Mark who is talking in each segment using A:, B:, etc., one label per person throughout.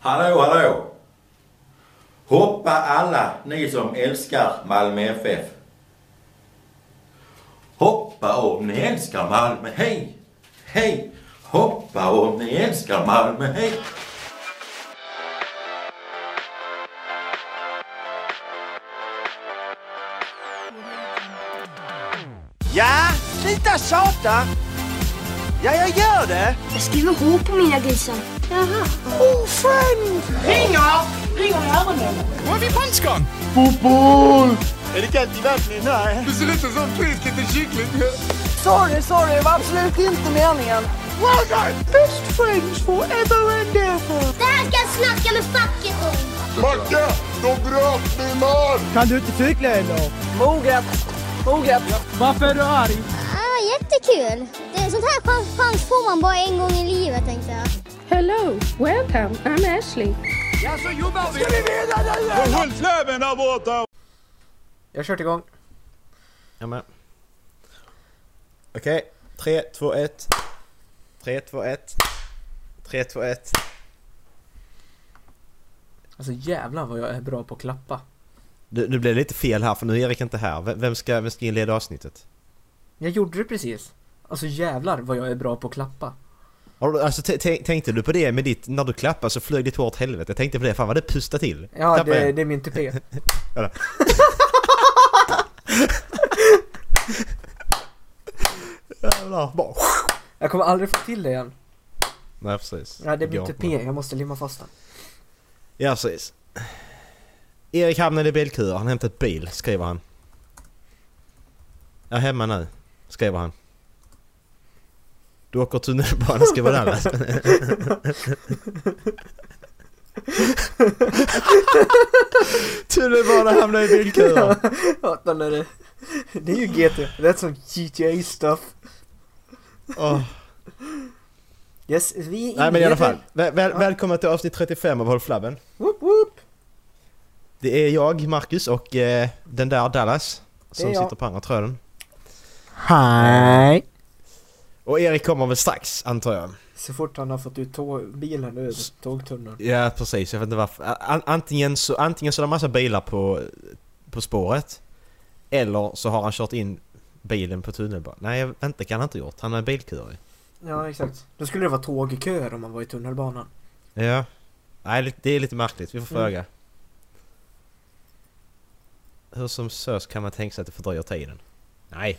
A: Hallå, hallå! Hoppa alla ni som älskar Malmö FF. Hoppa om ni älskar Malmö, hej! Hej! Hoppa om ni älskar Malmö, hej!
B: Ja, sluta tjata! Ja, jag gör det!
C: Jag skriver H på mina grisar. Jaha.
B: Ofriend!
D: Ringer! Ringer i öronen.
E: Var är vi punchgång?
B: Är det kallt i vattnet? Nej.
E: Du ser ut som en frisk liten kyckling.
F: Sorry, sorry, det var absolut inte meningen.
B: Well done! Best friends forever and ever!
G: Det här ska jag snacka med facket om.
E: Macke, de bröt min man!
H: Kan du inte cykla eller?
F: Moget, moget.
H: Varför är du arg?
G: Ah, jättekul. Det, sånt här chans, chans får man bara en gång i livet tänkte jag.
I: Hello, welcome, I'm Ashley.
B: Ja, så jobbar vi! Ska vi vinna nu eller? Hundfläven där borta!
J: Jag har kört igång.
K: Jag med. Okej, 3, 2, 1. 3, 2, 1. 3, 2, 1.
J: Alltså jävlar vad jag är bra på att klappa.
K: Nu, nu blev det lite fel här för nu är Erik inte här. V- Vem ska, vem ska inleda avsnittet?
J: Jag gjorde det precis. Alltså jävlar vad jag är bra på att klappa.
K: Har du- Alltså t- t- tänkte du på det med ditt, när du klappar så flög ditt hår åt helvete. Jag tänkte på det, fan vad det pusta till.
J: Ja,
K: Klappa
J: det,
K: igen.
J: det är min tupé.
K: Jävlar, bara...
J: Jag kommer aldrig få till det igen.
K: Nej precis.
J: Ja, det typ är min
K: Går.
J: tupé, jag måste limma fast den.
K: Ja precis. Erik hamnade i bilkur, han hämtat bil, skriver han. Jag är hemma nu, skriver han. Du åker tunnelbana, skriver Dallas. tunnelbana hamnar i bilkuren.
J: Hatar när det... Det är ju GT, that's some GTA stuff.
K: Åh.
J: Yes, vi är
K: Nej men i alla fall,
J: inleder.
K: väl, väl, välkomna till avsnitt 35 av Håll Flabben.
J: Woop woop!
K: Det är jag, Marcus och eh, den där Dallas. Som
J: jag.
K: sitter på andra tråden.
J: Hej!
K: Och Erik kommer väl strax, antar jag.
J: Så fort han har fått ut tå- bilen ur tågtunneln.
K: Ja precis, jag vet inte varför. An- Antingen så, antingen så är det massa bilar på, på spåret. Eller så har han kört in bilen på tunnelbanan. Nej jag- vänta, kan han inte gjort. Han är bilkurig.
J: Ja, exakt. Då skulle det vara tågköer om man var i tunnelbanan.
K: Ja. Nej det- det är lite märkligt, vi får
J: Mm.
K: fråga. Hur som så kan man tänka sig att det fördröjer tiden? Nej,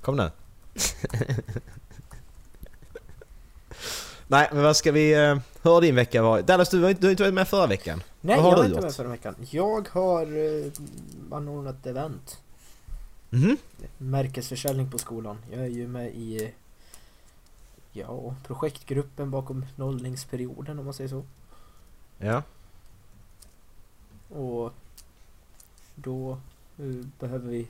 K: kom nu. Nej men vad ska vi... eh, Hur har din vecka varit? Dallas du var inte, du har inte varit med förra veckan.
J: Nej,
K: Vad har
J: jag
K: du
J: var inte
K: gjort?
J: med förra veckan. Jag har eh, anordnat event.
K: Mhm.
J: Märkesförsäljning på skolan. Jag är ju med i eh, ja, projektgruppen bakom nollningsperioden om man säger så.
K: Ja.
J: Och då eh, behöver vi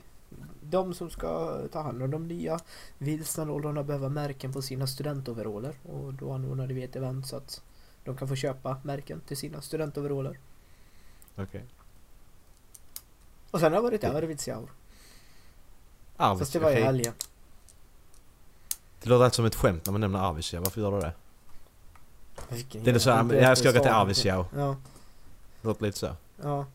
J: de som ska ta hand om de nya vilsnarollarna behöver märken på sina studentoveraller och då anordnade vi ett event så att de kan få köpa märken till sina studentoveraller.
K: Okej.
J: Och sen har jag varit i Arvidsjaur. Fast det var i
K: okej.
J: helgen.
K: Det låter alltid som ett skämt när man nämner Arvidsjaur, varför gör du det?
J: Vilken
K: Det är
J: jävla
K: så här, men jag ska åka till Arvidsjaur.
J: Ja,
K: Det låter lite så.
J: ja.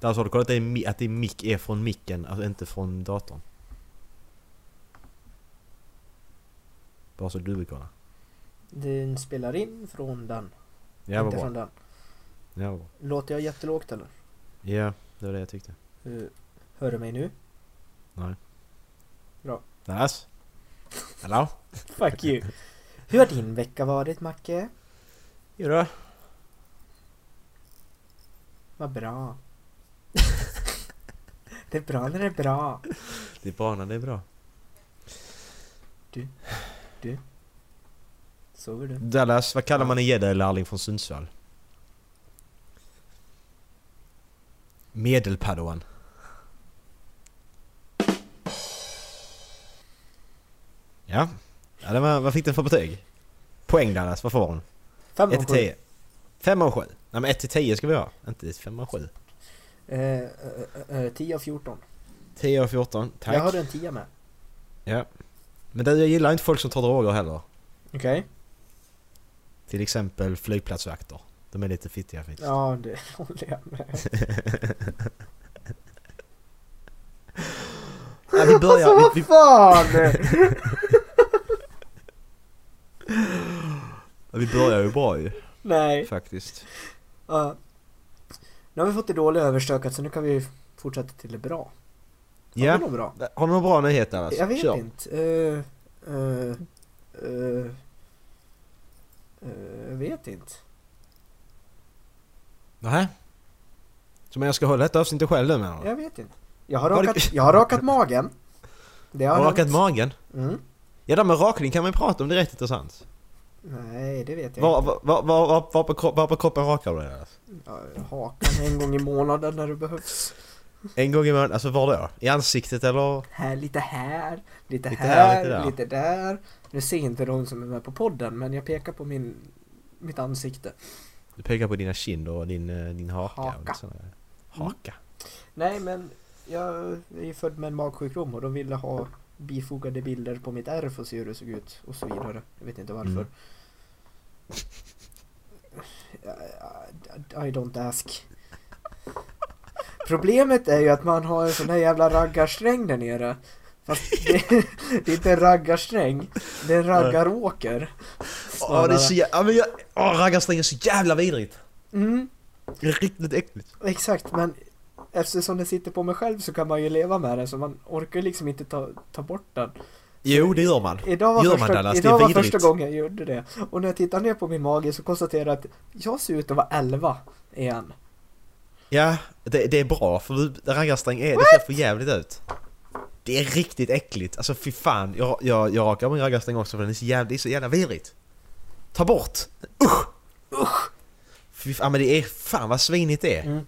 K: Där så har du kollat att det är mi- att det är mick är från micken, alltså inte från datorn. Bara så du vill kolla.
J: Den spelar in från den.
K: Ja vad
J: inte
K: bra.
J: från den.
K: Ja, vad bra.
J: Låter jag jättelågt eller?
K: ja, det var det jag tyckte.
J: Eh, Hör du mig nu?
K: Dallas? Hallå?
J: Fuck you! Hur har din vecka varit Macke?
K: Jodå?
J: Vad bra! det är bra när det är bra!
K: Det är bra när det är bra.
J: Sover du?
K: Dallas, vad kallar man en gäddlärling från Sundsvall? Medelpadawan. Ja, ja det var, vad fick den för betyg? Poäng Dallas, vad får hon?
J: Fem
K: 1
J: av
K: till
J: sju.
K: 10? 5 av 7? Nej men 1 till 10 ska vi ha, inte 5 av 7.
J: Eh, eh, eh, eh, 10 av 14.
K: 10 av 14, tack.
J: Jag har en 10 med.
K: Ja. Men det, jag gillar inte folk som tar droger heller.
J: Okej.
K: Till exempel flygplatsvakter. De är lite fittiga faktiskt.
J: Ja, det håller jag med
K: Ja, vi börjar...
J: Alltså
K: vi,
J: vad fan!
K: vi, vi börjar ju bra ju
J: Nej.
K: faktiskt.
J: Ja. nu har vi fått det dåliga överstökat så nu kan vi fortsätta till det bra. Har
K: Ja.
J: vi något bra?
K: Har du någon bra nyhet där alltså?
J: Jag vet
K: Kör.
J: inte. Eh, eh, eh, eh, jag vet inte.
K: Nähä? Så men jag ska hålla ett avsnitt själv nu menar du?
J: Jag vet inte. Jag har
K: Var det-
J: rakat, jag har rakat magen. Det
K: Har du
J: hänt.
K: rakat magen?
J: Mm.
K: Ja det med rakning kan man ju prata om, det är rätt intressant.
J: Nej, det vet jag
K: Var, var, var, var, var, på, kro- var på kroppen rakar du dig? alltså?
J: inte. Ja, Hakan en gång i månaden när det behövs.
K: En gång i månaden, alltså var då? I ansiktet eller?
J: Här, lite här, lite,
K: Lite
J: här,
K: här, lite där.
J: lite där. Nu ser inte de som är med på podden, men jag pekar på min, mitt ansikte.
K: Du pekar på dina kinder och din, eh, din haka.
J: Haka. Mm.
K: Och lite sådana där. haka.
J: Nej men jag är ju född med en magsjukdom och de ville ha bifogade bilder på mitt ärr för att se hur det såg ut och så vidare. Jag vet inte varför.
K: Mm.
J: I, I, I don't ask. Problemet är ju att man har en sån här jävla raggarsträng där nere. Fast det, det är inte en raggarsträng, det är en raggaråker.
K: Åh det är så jävla... Ja, men jag... Åh raggarsträng är så jävla vidrigt!
J: Mm.
K: Det är riktigt äckligt.
J: Exakt, men eftersom den sitter på mig själv så kan man ju leva med den så man orkar ju liksom inte ta, ta bort den.
K: Jo det gör man.
J: Idag var,
K: Gör man,
J: första,
K: Dallas? Det är
J: idag var
K: vidrigt.
J: första gången jag gjorde det. Och när jag tittar ner på min mage så konstaterar jag att jag ser ut att vara 11 igen.
K: Ja, det, det är bra för du- raggarsträng är... Det ser för jävligt ut. Det är riktigt äckligt. Alltså fy fan. Jag, jag, jag rakar min raggarsträng också för den är så jävla, det är så jävla vidrigt. Ta bort! Usch! Usch! Fy fan men det är... Fan vad svinigt det är.
J: Mm.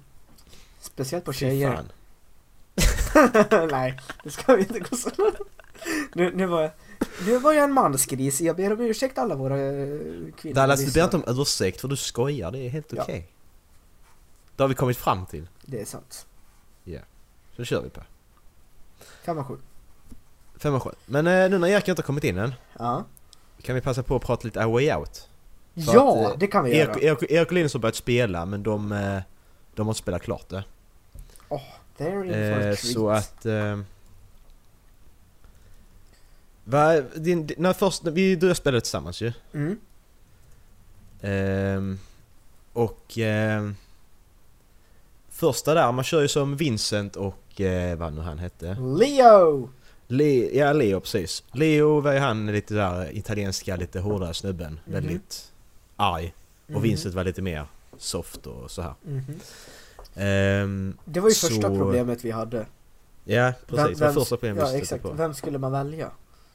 J: Speciellt på
K: Fy
J: tjejer.
K: fan.
J: Nej, det ska vi inte gå så långt. Nu, nu, var jag, nu var jag en mansgris, jag ber om ursäkt alla våra eh, kvinnor.
K: Dallas du ber
J: lyssnare.
K: inte om ursäkt för du skojar. Det är helt
J: Ja.
K: okej. Det har vi kommit fram till.
J: Det är sant.
K: Så kör vi på.
J: Kan man sju.
K: Fem och sju. Men eh, nu när Jerker inte har kommit in än
J: Ja.
K: kan vi passa på att prata lite A Way Out. För
J: Ja,
K: att, eh,
J: det kan vi göra.
K: Erik Erik- Erik och Linus har börjat spela men de, eh, de har inte spelat klart det.
J: There is for a
K: Eh, så
J: treat.
K: att... Eh, va, din, din, när först, vi, du och jag spelade tillsammans ju.
J: Mm.
K: Ehm, och... ehm, första där, man kör ju som Vincent och eh, vad nu han hette.
J: Leo!
K: Le ja, Leo precis. Leo var ju han lite där italienska, lite hårdare snubben. Väldigt arg. Och
J: Mhm.
K: Vincent var lite mer soft och så här.
J: Mhm.
K: Ehm,
J: Det var ju första
K: Så-
J: problemet vi hade.
K: ja, precis. det var
J: vem-
K: första problemet
J: ja,
K: vi
J: exakt.
K: stötte på.
J: Vem skulle man välja?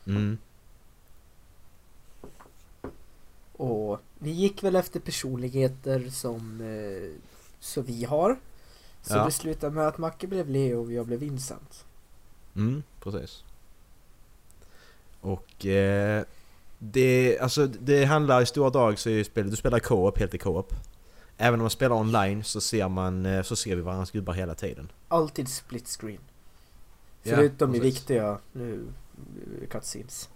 K: Mm.
J: Och vi gick väl efter personligheter som eh, så vi har. Så
K: Ja.
J: det slutade med att Macke blev Leo och jag blev Vincent.
K: Mm, precis. Och eh, det, alltså, det handlar i stora drag så är ju spelet, du spelar co-op, helt i co-op. Även om man spelar online så ser man, eh, så ser vi varandras gubbar hela tiden.
J: Alltid split screen.
K: Ja,
J: Förutom i
K: precis.
J: viktiga nu, eh, cutscenes.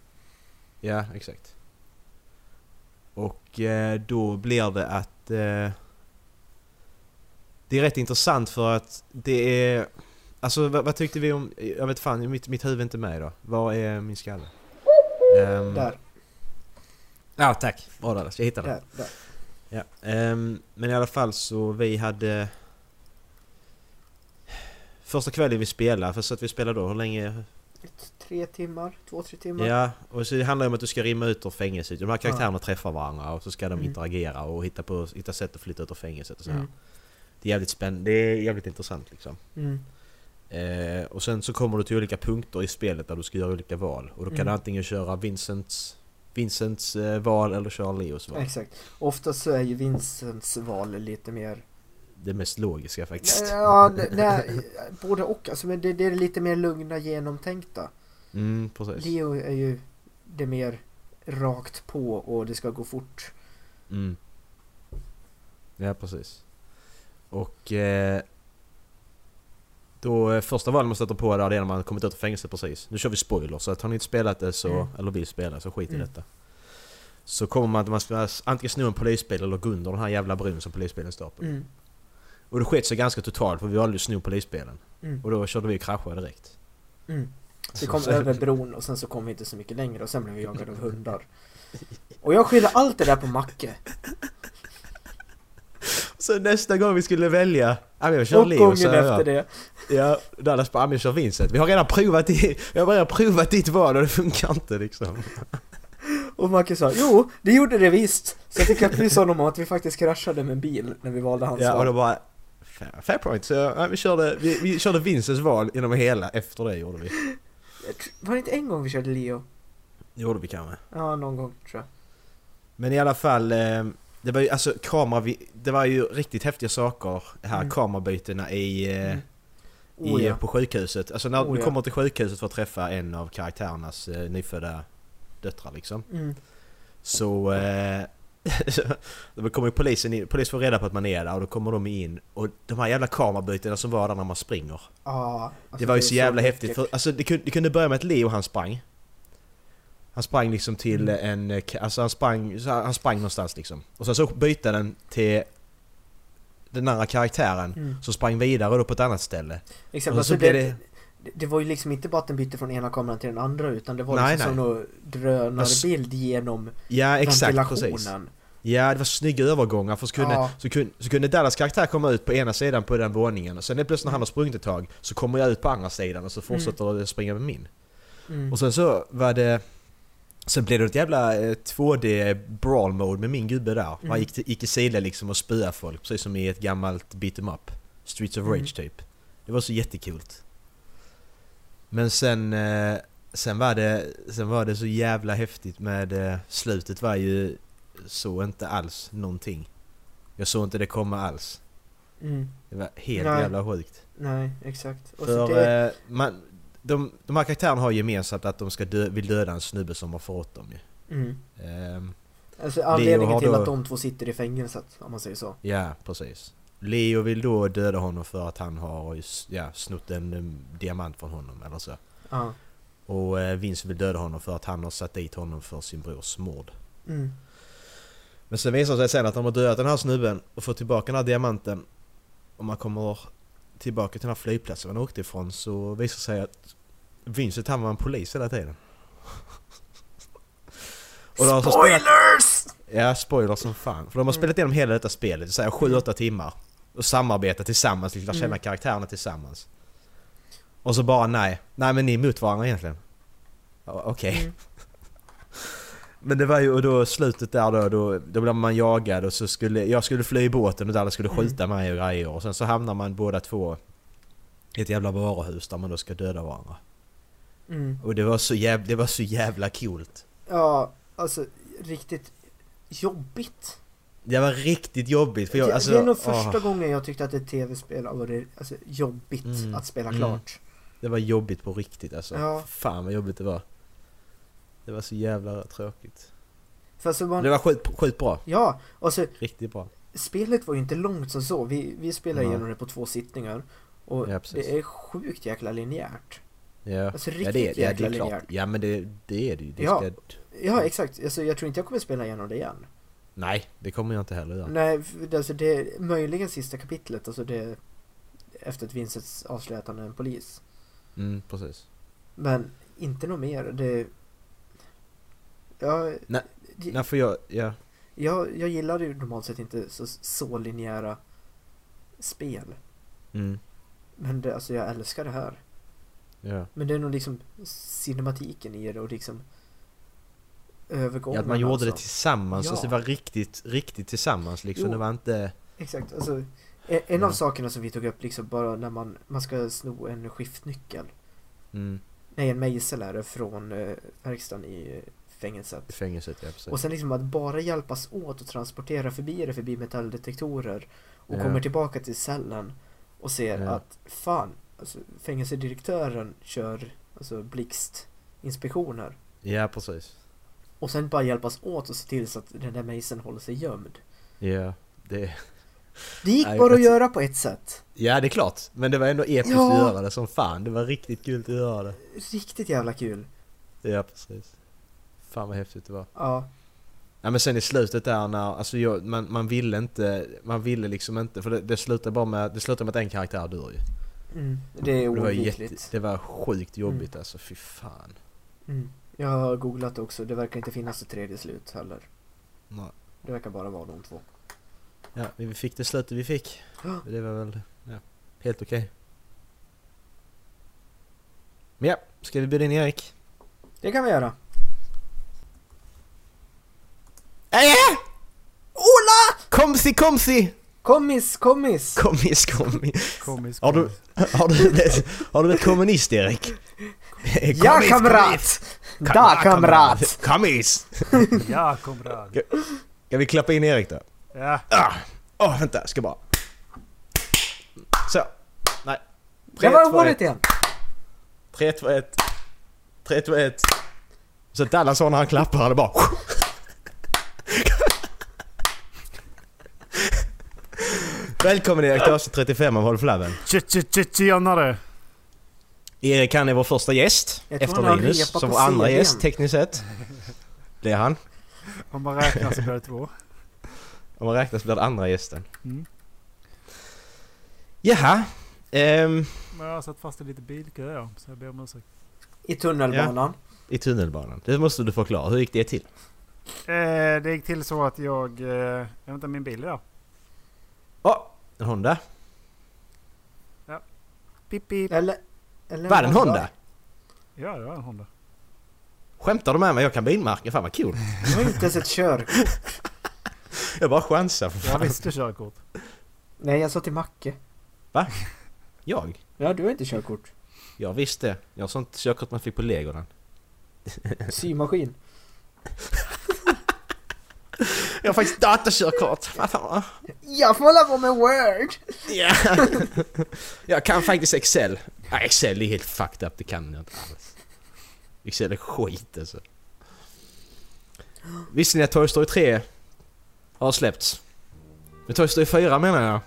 K: Ja, exakt. Och eh, då blir det att... Eh, det är rätt intressant för att det är... Alltså vad, vad tyckte vi om... Jag vet fan, mitt, mitt huvud är inte med idag. Var är min skalle? Ehm,
J: Där,
K: Ja, tack. Bra Dallas, jag hittade den.
J: där, där.
K: Ja, ehm, men i alla fall så vi hade... Första kvällen vi spelade, för så att vi spelade då, hur länge?
J: Ett, tre timmar, två, tre timmar.
K: Ja, och så det handlar det om att du ska rimma ut ur fängelset. De här karaktärerna träffar varandra och så ska de
J: Mm.
K: interagera och hitta, på, hitta sätt att flytta ut ur fängelset och så här.
J: Mm.
K: Det är jävligt spännande, det är jävligt intressant liksom.
J: Mm.
K: Eh, och sen så kommer du till olika punkter i spelet där du ska göra olika val. Och då kan
J: Mm.
K: du antingen köra Vincents, Vincents eh, val eller köra Leos val.
J: Exakt. Oftast så är ju Vincents val lite mer
K: Det mest logiska faktiskt.
J: Ja, det- nej, både och. Alltså, men det, det är lite mer lugna, genomtänkta.
K: Mm, precis.
J: Leo är ju det mer rakt på och det ska gå fort.
K: Mm. Ja, precis. Och... Eh, Då eh, första valen man stöter på där det är när man kommit ut ur fängelset precis. Nu kör vi spoiler så att har ni inte spelat det så,
J: Mm.
K: eller vill spela så skit i
J: Mm.
K: detta. Så kommer man att man ska antingen sno en polisbil eller gå under den här jävla bron som polisbilen står på.
J: Mm.
K: Och det sket sig ganska totalt för vi valde att sno polisbilen.
J: Mm.
K: Och då körde vi och kraschade direkt.
J: Mm. Vi
K: Så-
J: kom
K: så-
J: över bron och sen så kom vi inte så mycket längre och sen blev vi jagade av hundar. Och jag skyller allt det där på Macke.
K: Så nästa gång vi skulle välja... Ja, men jag kör
J: Och
K: Leo,
J: gången
K: så
J: efter
K: jag.
J: det.
K: Ja, Dallas bara, "Ja, men jag kör Vincent. Vi har redan provat, i, jag har redan provat ditt val och det funkar inte liksom.
J: Och Macke sa jo, det gjorde det visst. Så jag fick upplysa honom om att vi faktiskt kraschade med en bil när vi valde hans
K: Ja, och
J: val.
K: då bara... Fair, fair point. Så ja, vi, körde, vi, vi körde Vincents val genom hela, efter det gjorde vi.
J: Var det inte en gång vi körde Leo?
K: Det gjorde vi kanske.
J: Ja, någon gång tror jag.
K: Men i alla fall, eh, det var ju alltså kamera, vi- det var ju riktigt häftiga saker här,
J: Mm.
K: kamerabytena i... eh,
J: Mm.
K: i,
J: Oh, ja.
K: på sjukhuset. Alltså när
J: Oh,
K: du
J: ja.
K: kommer till sjukhuset för att träffa en av karaktärernas eh, nyfödda döttrar liksom.
J: Mm.
K: Så... Eh, då kommer ju polisen in, polisen får reda på att man är där och då kommer de in och de här jävla kamerabytena som var där när man springer.
J: Ja,
K: det
J: alltså,
K: var ju
J: är
K: så jävla
J: mycket.
K: häftigt för alltså det kunde, det kunde börja med att Leo han sprang. Han sprang liksom till
J: Mm.
K: en, eh, ka- alltså han sprang, så han han sprang någonstans liksom. Och sen så bytte den till den andra karaktären
J: Mm.
K: som sprang vidare då på ett annat ställe.
J: Exakt,
K: Och
J: alltså
K: så
J: det,
K: blir
J: det...
K: det-
J: det var ju liksom inte bara att den bytte från ena kameran till den andra utan det var
K: Nej,
J: liksom
K: nej.
J: som någon drönarbild genom
K: Ja exakt, precis.
J: ventilationen.
K: Ja, det var snygga övergångar för så kunde,
J: Ja.
K: så, kunde, så kunde Dallas karaktär komma ut på ena sidan på den våningen och sen helt plötsligt när han har sprungit ett tag så kommer jag ut på andra sidan och så fortsätter jag springa med min.
J: Mm.
K: Och sen så var det... Sen blev det ett jävla eh, 2D brawl mode med min gubbe där.
J: Mm.
K: Han gick, till- gick i sidled liksom och spöade folk precis som i ett gammalt beat em up. Streets of Rage
J: Mm.
K: typ. Det var så jättekul. Men sen... eh, Sen var det, sen var det så jävla häftigt med eh, slutet var ju så inte alls någonting. Jag såg inte det komma alls.
J: Mm.
K: Det var helt
J: Nej.
K: jävla sjukt.
J: Nej, exakt. Och så
K: För
J: det,
K: eh, man, de, de här karaktärerna har gemensamt att de ska dö, vill döda en snubbe som har förrått dem ju.
J: mm.
K: Ehm,
J: alltså,
K: eh, har
J: anledningen till
K: då-
J: att de två sitter i fängelset, om man säger så.
K: ja, precis. Leo vill då döda honom för att han har ju s- ja, snott en em, diamant från honom eller så.
J: Ja.
K: Och eh, Vince vill döda honom för att han har satt dit honom för sin brors mord.
J: Mm.
K: Men sen visar det sig sen att de har dödat den här snubben och fått tillbaka den här diamanten. Om man kommer tillbaka till den här flygplatsen man åkte ifrån så visar det sig att Vincent han var en polis hela tiden. Och de har så spelat,
J: Spoilers!
K: ja, spoiler som fan. För de har spelat igenom hela detta spelet, det säger 7-8 timmar. Och samarbetat tillsammans, liksom lärt känna
J: Mm.
K: karaktärerna tillsammans. Och så bara nej, nej men ni är emot varandra egentligen. Ja, Okej.
J: Mm.
K: Men det var ju och då slutet där då, då, då blev man jagad och så skulle jag skulle fly i båten och Dallas skulle
J: Mm.
K: skjuta mig och grejer och sen så hamnar man båda två i ett jävla varuhus där man då ska döda varandra.
J: Mm.
K: Och det var så jävla, det var så jävla coolt.
J: Ja, alltså riktigt jobbigt.
K: Det var riktigt jobbigt för jag
J: det,
K: alltså,
J: det är nog
K: åh,
J: första gången jag tyckte att ett tv-spel har varit alltså, jobbigt
K: Mm.
J: att spela
K: Mm.
J: klart.
K: det var jobbigt på riktigt alltså.
J: Ja.
K: Fan vad jobbigt det var. Det var så jävla tråkigt.
J: För alltså,
K: Men
J: man...
K: det var sjukt, sjukt bra.
J: Ja, och så
K: Riktigt bra.
J: spelet var ju inte långt som så. Vi, vi spelade
K: Nej.
J: igenom det på två sittningar. Och
K: Ja, precis.
J: det är sjukt jäkla linjärt.
K: Ja.
J: Alltså,
K: ja,
J: riktigt
K: det, ja, det
J: jäkla
K: är klart.
J: linjärt.
K: Ja men det, det är det ju. Det
J: Ja.
K: ska,
J: Ja, exakt. Alltså, jag tror inte jag kommer spela igenom det igen.
K: Nej, det kommer jag inte heller göra.
J: Nej, för- alltså det möjligen sista kapitlet, alltså det efter att Vincents avslöjar att han är en polis.
K: Mm, precis.
J: Men inte något mer. Det... Ja,
K: Nej,
J: det-
K: Nej, för jag... Ja.
J: Jag, jag gillar ju normalt sett inte så, så linjära spel.
K: Mm.
J: Men det, alltså jag älskar det här.
K: Ja.
J: Men det är nog liksom cinematiken i det och liksom övergången.
K: ja, att man gjorde
J: alltså.
K: det tillsammans.
J: Ja.
K: Alltså det var riktigt, riktigt tillsammans liksom.
J: Jo.
K: Det var inte...
J: Exakt, alltså e- en av
K: Ja.
J: sakerna som vi tog upp liksom bara när man, man ska sno en skiftnyckel.
K: Mm,
J: Nej, en mejsel är det från eh, verkstaden i eh, fängelset.
K: i fängelset, ja precis.
J: Och sen liksom att bara hjälpas åt och transportera förbi det förbi metalldetektorer och
K: Ja.
J: kommer tillbaka till cellen och ser
K: Ja.
J: att fan, alltså, fängelsedirektören kör alltså blixtinspektioner
K: Ja, precis.
J: och sen bara hjälpas åt och se till så att den där mejseln håller sig gömd.
K: Ja, det...
J: Det gick
K: Nej,
J: bara att
K: jag-
J: göra på ett sätt.
K: Ja, det är klart. Men det var ändå episkt
J: Ja.
K: att göra det som fan. Det var riktigt kul att göra det.
J: Riktigt jävla kul.
K: Ja, precis. Fan vad häftigt det var.
J: Ja.
K: Ja men sen i slutet där när, alltså jag, man, man ville inte, man ville liksom inte, för det, det slutade bara med, det slutade med att en karaktär dör ju.
J: Mm. Det är
K: Och det var ju jätte,
J: oundvikligt.
K: det var sjukt jobbigt alltså, fy fan.
J: Mm. Jag har googlat också. Det verkar inte finnas ett tredje slut heller.
K: Nej.
J: Det verkar bara vara de två.
K: Ja, men vi fick det slutet vi fick. Det var väl, ja, helt okej. Men ja, ska vi bjuda in Erik?
J: Det kan vi göra.
K: Äh! Ola! Komsi, komsi!
J: Kommis, kommis!
K: Kommis, kommis.
H: Komisk.
K: Har du, har du, blivit- har du blivit kommunist Erik?
J: Ja,
K: Kommis, kommis.
J: kamrat! Da, kamrat!
K: Kommis!
H: Ja, komrad.
K: Ska vi klappa in Erik då?
H: Ja.
K: Ah. Åh, vänta, ska bara... Så. Nej.
J: Det var ordet igen!
K: 3, 2, 1. 3, 2, 1. Så att alla sa när han klappar, han bara... Välkommen Erik till avsnitt 35 av Håll Flabben.
H: Tjenare!
K: Erik han är vår första gäst.
J: Jag tror han
K: Efter
J: har
K: Linus,
J: repat
K: som
J: på
K: vår andra
J: scenen.
K: gäst tekniskt sett. Det är han.
H: Om man räknar så blir det två.
K: Om man räknar så blir det andra gästen.
H: Mm.
K: Jaha. Ehm,
H: Men jag har satt fast i lite bilkö ja, så jag ber om ursäkt.
J: I tunnelbanan.
K: I tunnelbanan. Det måste du förklara. Hur gick det till?
H: Eh, det gick till så att jag... Eh, vänta, min bil ja.
K: Åh! en Honda.
H: Pip, pip.
J: Eller... eller
K: Var det en Honda?
H: Ja, det var en Honda.
K: Skämtar du med mig? Jag kan bilmärken. Fan vad kul.
J: Du har inte ens ett kör.
K: Jag bara chansar för
H: Jag
K: fan.
H: visste körkort.
J: Nej, jag sa till Macke.
K: Jag?
J: Ja, du har inte körkort.
K: Jag visste. Jag har sånt körkort man fick på Legoland.
J: Symaskin.
K: Jag har faktiskt datorkörkort. Vad fan?
J: Jag får hålla på med Word!
K: Ja. Jag kan faktiskt Excel. Nej, Excel är helt fucked up. Det kan jag inte alls. Excel är skit alltså. Visste ni att Toy Story 3 har släppts? Men Toy Story 4 menar jag.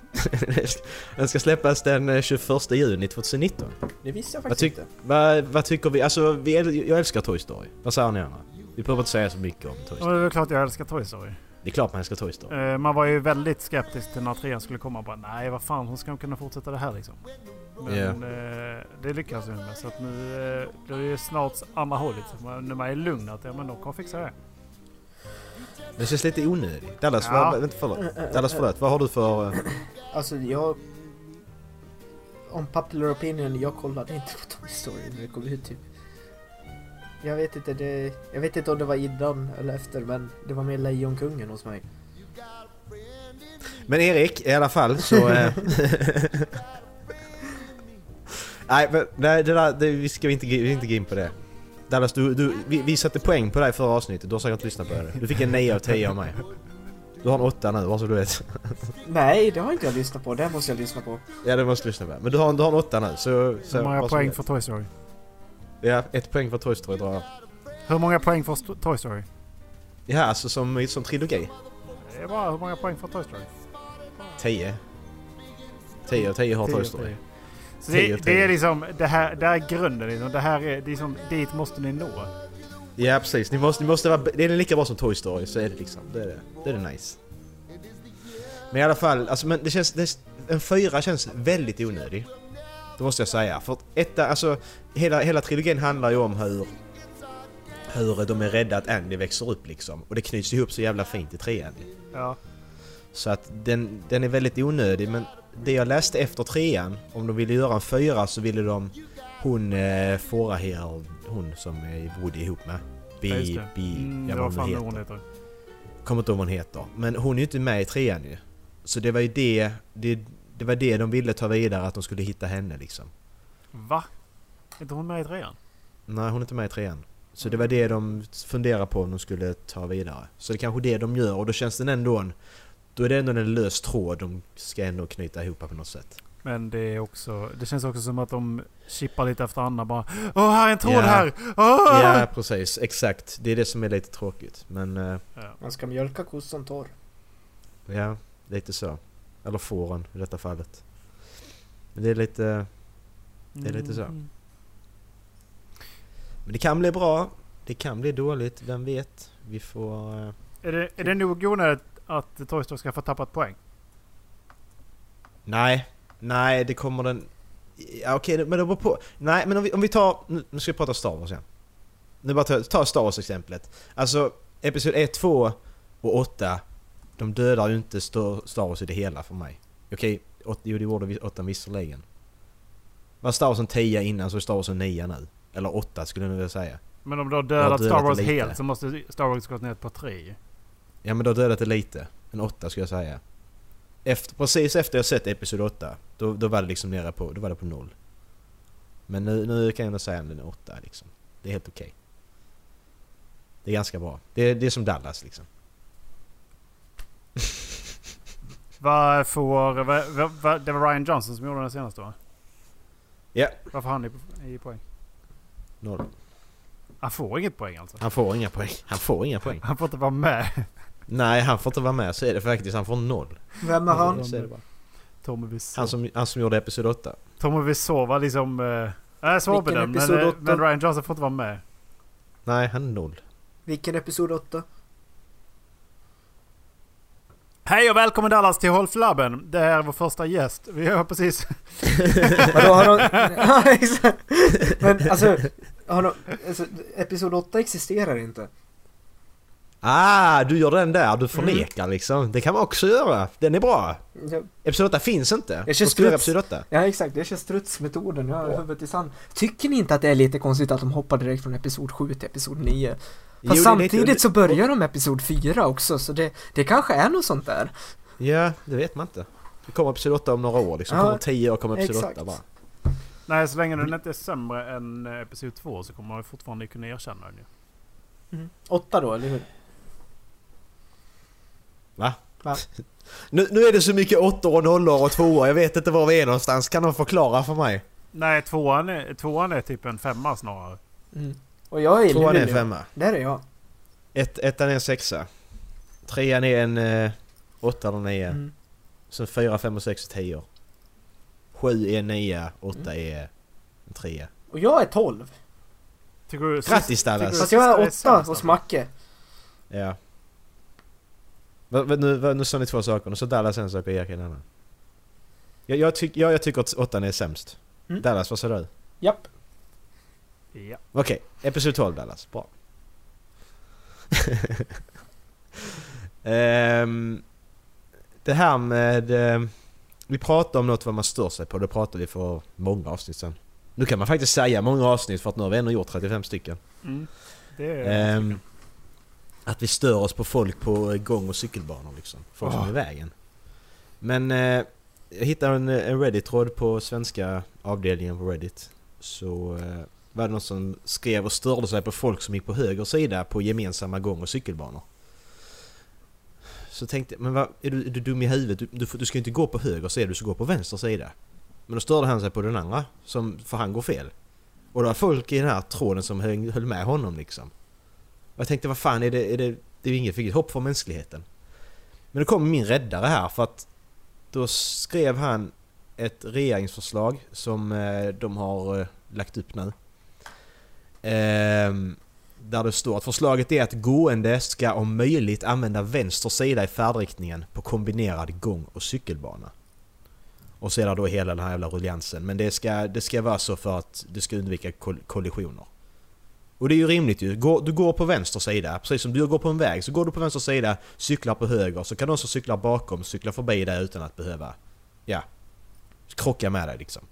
K: Den ska släppas den eh, 21 juni 2019.
J: Det visste jag
K: Vad,
J: faktiskt
K: tyck,
J: inte.
K: vad, vad tycker vi? Alltså, vi, äl- jag älskar Toy Story. Vad säger ni andra? Vi behöver inte säga så mycket om Toy
H: Och
K: Story.
H: det är klart jag älskar Toy Story.
K: Det är klart man älskar Toy Story.
H: Eh, man var ju väldigt skeptisk till när trean skulle komma. och Bara, Nej, vad fan, hur ska de kunna fortsätta det här liksom? Men
K: Ja.
H: eh, det lyckas vi med. Så att nu eh, blir det ju snart andra hållet. Så man- När man är lugn att ja, men de kommer fixa det.
K: Det känns lite onödigt. Dallas,
H: Ja.
K: vad, vänta, förlåt. Dallas, förlåt. Vad har du för... eh,
J: Alltså, jag... Om popular opinion, jag kollade inte på Toy Story när det kom ut typ. Jag vet inte, det... Jag vet inte om det var innan eller efter, men det var mer Lejonkungen hos mig.
K: Men Erik, i alla fall så... eh, nej, men, nej det där, det, vi ska vi inte, vi ska inte gå in på det. Dallas, du, du, vi, vi satte poäng på dig förra avsnittet. Du har säkert lyssnat på det. Du fick en 9 av 10 av mig. Du har en 8 nu, bara så du vet.
J: Nej, det har inte jag lyssnat på. Det här måste jag lyssna på.
K: Ja, det måste du lyssna på. Men du har, en- du har en 8 nu, så... så
H: Hur många
K: bara så du
H: poäng
K: vet.
H: för Toy Story?
K: Ja, ett poäng för Toy Story drar jag.
H: Hur många poäng för Sto- Toy Story?
K: Ja, alltså som, som trilogi.
H: Det är bara hur många poäng för Toy Story?
K: 10. 10 av 10 har
H: Tio,
K: Toy Story.
H: tio. Så
K: Tio,
H: det,
K: tio.
H: det är liksom, det här, det här är grunden. Liksom. Det här är, det är liksom, dit måste ni nå.
K: Ja, precis. Ni måste, ni måste vara... Det är lika bra som Toy Story, så är det liksom. Det är det. Det är det nice. Men i alla fall, alltså men det känns... Det, en fyra känns väldigt onödig. Det måste jag säga. För att etta, alltså... Hela, hela trilogin handlar ju om hur... Hur de är rädda att Andy växer upp liksom. Och det knyts ihop så jävla fint i trean ju.
H: Ja.
K: Så att den, den är väldigt onödig men det jag läste efter trean, om de ville göra en fyra så ville de hon eh, fåra här, hon som eh, bodde ihop med. Bi,
H: Ja, just det.
K: bi,
H: Mm,
K: jag
H: det var
K: vad
H: fan
K: hon
H: vad
K: heter.
H: hon heter.
K: Kommer inte ihåg vad hon heter. Men hon är ju inte med i trean ju. Så det var ju det, det, det var det de ville ta vidare, att de skulle hitta henne liksom.
H: Va? Är inte hon med i trean?
K: Nej, hon är inte med i trean. Så det var det de funderade på om de skulle ta vidare. Så det är kanske det de gör och då känns den ändå en... Då är det ändå en lös tråd de ska ändå knyta ihop på något sätt.
H: Men det är också, det känns också som att de chippar lite efter Anna bara Åh här är en tråd
K: Ja.
H: här! Åh!
K: Ja, precis. Exakt. Det är det som är lite tråkigt. Men eh,
H: Ja.
J: Man ska mjölka kossan torr.
K: ja, lite så. Eller fåren i detta fallet. Men det är lite... Det är lite så.
H: Mm.
K: Men det kan bli bra. Det kan bli dåligt. Vem vet? Vi får... eh,
H: Är det, är det nog onödigt att Toy Story ska få tappat poäng?
K: Nej, nej det kommer den... Ja, okej, men det beror på... Nej, men om vi, om vi tar... Nu nu ska vi prata Star Wars igen. Nu bara ta, ta Star Wars-exemplet. Alltså, Episod 1, 2 och 8, de dödar ju inte Star Star Wars i det hela för mig. Okej, åt- jo det gjorde vi- 8 visserligen. Var Star Wars en 10 innan så är Star Wars en 9 nu. Eller 8 skulle jag nu vilja säga.
H: Men om du har
K: Jag har
H: dödat Star
K: dödat
H: Wars
K: lite.
H: helt så måste Star Wars gått ner på tre.
K: Ja men då har dödat det lite. En åtta skulle jag säga. Efter, precis efter jag sett Episod 8, då, då var det liksom nere på, då var det på noll. Men nu, nu kan jag nog säga att den är åtta liksom. Det är helt okej. Det är ganska bra. Det, det är som Dallas liksom.
H: Vad får... Vad, vad, vad, det var Ryan Johnson som gjorde den senaste va?
K: Ja.
H: Vad får han i, i poäng?
K: Noll.
H: Han får inget poäng alltså?
K: Han får inga poäng. Han får inga poäng.
H: Han får inte vara med.
K: Nej, han får inte vara med. Så är det faktiskt. Han får noll.
J: Vem är han?
K: Så är det bara.
H: Tommy Wiseau.
K: Han som, han som gjorde Episod 8.
H: Tommy Wiseau var liksom... eh, Nej, svårbedömd. Men,
J: episod
H: eh,
J: åtta?
H: men Ryan Johnson får inte vara med.
K: Nej, han är noll.
J: Vilken episod 8?
H: Hej och välkommen allas till Håll Flabben. Det här är vår första gäst. Vi har precis...
J: Vadå har de... Ja, exakt. Men alltså, har de... alltså episod 8 existerar inte.
K: Ah, du gör den där. Du förnekar liksom. Det kan man också göra. Den är bra.
J: Ja,
K: Episod 8 finns inte.
J: Jag känns
K: Måste göra
J: struts.
K: Episod 8.
J: ja exakt, jag kör strutsmetoden. Jag har huvudet i sand. Tycker ni inte att det är lite konstigt att de hoppar direkt från episod 7 till episod 9?
K: Jo, det
J: Fast
K: är lite-
J: samtidigt så börjar de med episod 4 också, så det, det kanske är något sånt där.
K: Ja, det vet man inte. Det kommer Episod 8 om några år liksom.
J: Ja,
K: kommer om 10 år kommer Episod
J: exakt.
K: 8 bara.
H: Nej, så länge den inte är sämre än eh, Episod 2 så kommer man ju fortfarande kunna erkänna den ju.
J: 8 då, eller hur?
K: Nu, nu är det så mycket 8 och 0 och 2 Jag vet inte var vi är någonstans. Kan någon förklara för mig?
H: Nej, tvåan är, tvåan är typ en femma snarare.
J: Och jag är i
K: 2 är en
J: Luleå.
K: 5
J: Där är jag.
K: 1 är en 6 3 är en 8 eller 9
J: Mm.
K: Sen 4, 5 och 6 är 10 7 är en 9
J: Mm.
K: 8 är en 3
J: Och jag är 12.
H: Tycker du...
K: Grattis Dallas!
J: Fast jag
H: sista är
J: är 8
H: sämst,
J: hos
H: alltså.
J: Macke.
K: Ja. Va- va- Nu, va- nu sa ni två saker, nu sa Dallas en sak och Erik en annan. Jag, jag, tyck, jag, jag tycker att åttan är sämst.
J: Mm.
K: Dallas, vad sa du?
J: Japp.
H: Ja.
K: Okej, Episod 12 Dallas, bra. Ehm, det här med... ehm, vi pratade om något vad man stör sig på, det pratade vi för många avsnitt sedan. Nu kan man faktiskt säga många avsnitt för att nu har vi ändå gjort 35 stycken.
H: Mm. Det är...
K: Ehm, att vi stör oss på folk på eh, gång och cykelbanor liksom. Folk
H: Ah.
K: som är i vägen. Men eh, jag hittade en, eh, en Reddit-tråd på svenska avdelningen på Reddit. Så eh, var det någon som skrev och störde sig på folk som gick på höger sida på gemensamma gång och cykelbanor. Så tänkte jag, men vad, är, du, är du dum i huvudet? Du, du, får- du ska ju inte gå på höger sida, du ska gå på vänster sida. Men då störde han sig på den andra, som, för han går fel. Och det var folk i den här tråden som höll, höll med honom liksom. Och jag tänkte vad fan är det, är det, det är ju inget riktigt hopp för mänskligheten. Men då kom min räddare här för att då skrev han ett regeringsförslag som eh, de har eh, lagt upp nu. Ehm, där det står att förslaget är att gående ska om möjligt använda vänster sida i färdriktningen på kombinerad gång och cykelbana. Och så är det då hela den här jävla ruljansen. Men det ska, det ska vara så för att det ska undvika kol- kollisioner. Och det är ju rimligt ju. Går- Du går på vänster sida, precis som du går på en väg så går du på vänster sida, cyklar på höger, så kan de som cyklar bakom cykla förbi dig utan att behöva, ja, krocka med dig liksom.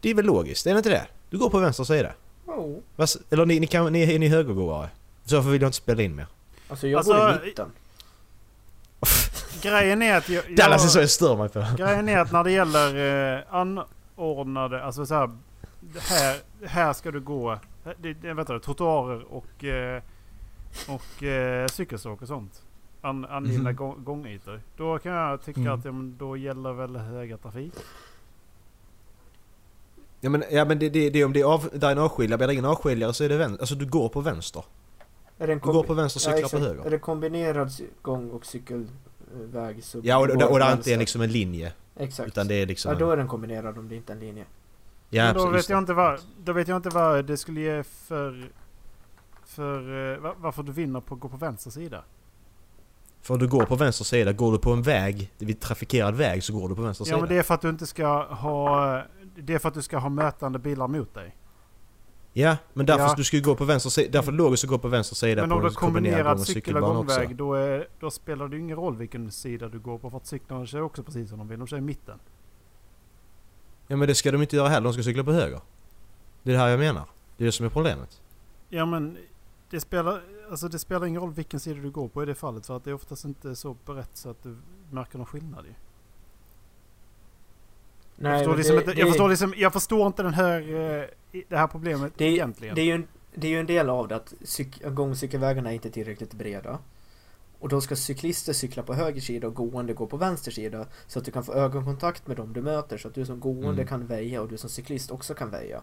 K: Det är väl logiskt, är det inte det? Du går på vänster sida.
J: Oh.
K: Vad s- Eller ni, ni, kan, ni, är ni högergåare? Så varför vill jag inte spela in mer?
J: Alltså jag
H: Alltså,
J: går i mitten.
H: Grejen är att jag... jag
K: Dallas är så jag stör mig på.
H: Grejen är att när det gäller eh, anordnade, alltså så här, det här, här ska du gå, det, det, vänta, trottoarer och, eh, och eh, cykelstråk och sånt. An, angivna
K: Mhm.
H: gång, gångytor. Då kan jag tycka
K: Mm.
H: att ja, men då gäller väl höga trafik.
K: Ja men, ja, men det, det, det, är om det är, av, där är en avskiljare, blir det ingen avskiljare så är det vänster. Alltså du går på vänster.
J: Är det en
K: Du går på vänster och cyklar på
J: exakt.
K: höger.
J: Är det kombinerad cy- gång och cykel... väg så...
K: Ja, och,
J: går
K: och, och det är inte
J: vänster.
K: liksom en linje.
J: Exakt.
K: Utan det är liksom...
J: Ja, då är den kombinerad om det inte är en linje.
K: Ja,
H: Men då,
K: precis,
H: vet
K: just
H: jag inte vad, då vet jag inte vad det skulle ge för... för eh, va- varför du vinner på att gå på vänster sida.
K: För du går på vänster sida, går du på en väg, vid trafikerad väg så går du på vänster
H: Ja
K: sida.
H: men det är för att du inte ska ha... Det är för att du ska ha mötande bilar mot dig.
K: Ja, men därför
H: Ja. Mm.
K: du ska ju gå på vänster sida, därför logiskt att gå på vänster sida
H: Men
K: på
H: om du
K: en
H: har kombinerad cykel och
K: gång- och
H: gångväg då, är, då spelar det ju ingen roll vilken sida du går på för att cyklarna kör också precis som de vill. De kör i mitten.
K: Ja men det ska de inte göra heller, de ska cykla på höger. Det är det här jag menar. Det är det som är problemet.
H: Ja men det spelar, alltså det spelar ingen roll vilken sida du går på i det fallet för att det är oftast inte så brett så att du märker någon skillnad ju.
J: Nej,
H: jag, förstår
J: men
H: liksom
J: det-
H: inte,
J: det-
H: jag, förstår liksom, jag förstår inte den här, eh, i- det här problemet
J: Det,
H: egentligen.
J: det, är ju en, det är ju en del av det att cyk- gångcykelvägarna är inte tillräckligt breda. Och då ska cyklister cykla på höger sida och gående gå på vänster sida. Så att du kan få ögonkontakt med dem du möter. Så att du som gående
K: Mm.
J: kan väja och du som cyklist också kan väja.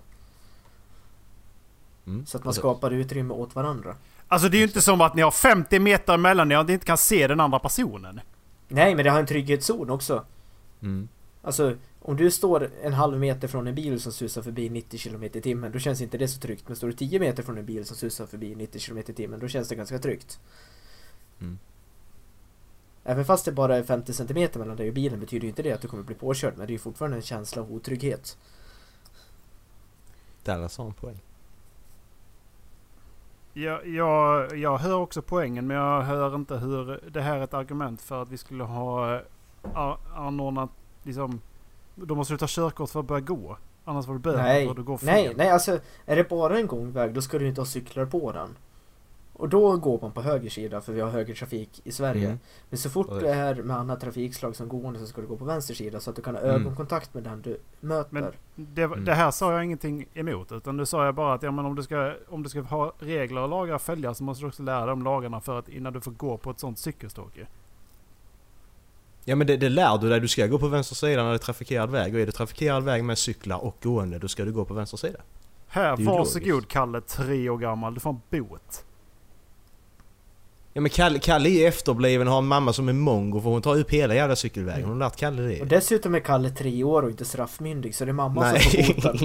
K: Mm.
J: Så att man skapar utrymme åt varandra.
H: Alltså det är ju inte som att ni har 50 meter mellan er och inte kan se den andra personen.
J: Nej, men det har en trygghetszon också.
K: Mm.
J: Alltså, om du står en halv meter från en bil som susar förbi 90 km i timmen, då känns inte det så tryggt. Men står du 10 meter från en bil som susar förbi 90 km i timmen, då känns det ganska tryggt.
K: Mm.
J: Även fast det bara är 50 cm mellan dig och bilen betyder ju inte det att du kommer bli påkörd, men det är ju fortfarande en känsla av otrygghet.
K: Dallas har en poäng.
H: Jag, jag, jag hör också poängen men jag hör inte hur det här är ett argument för att vi skulle ha eh, a- anordnat liksom... Då måste du ta körkort för att börja gå. Annars var det böter
J: Nej,
H: för att du går fel.
J: nej, nej, alltså är det bara en gångväg då ska du inte ha cyklar på den. Och då går man på höger sida för vi har höger trafik i Sverige.
K: Mm.
J: Men så fort
K: Oj.
J: du är med annat trafikslag som gående så ska du gå på vänster sida så att du kan ha
K: Mm.
J: ögonkontakt med den du möter.
H: Men det, var- det här sa jag ingenting emot. Utan det sa jag bara att ja, men om, du ska, om du ska ha regler och lagar att följa så måste du också lära dig om lagarna för att innan du får gå på ett sånt cykelstråk ju.
K: Ja men det, det lär du dig, du ska gå på vänster sida när det är trafikerad väg. Och är det trafikerad väg med cyklar och gående då ska du gå på vänster sida.
H: Här,
K: Det är ju
H: varsågod
K: logiskt.
H: Kalle, tre år gammal. Du får en bot.
K: Ja men Kalle, Kalle är efterbliven har en mamma som är mongo för hon tar upp hela jävla cykelvägen.
H: Mm.
K: Hon har lärt Kalle
J: Och
K: det.
J: dessutom är Kalle tre år och inte straffmyndig så det är mamma som får
K: Nej.
J: boten.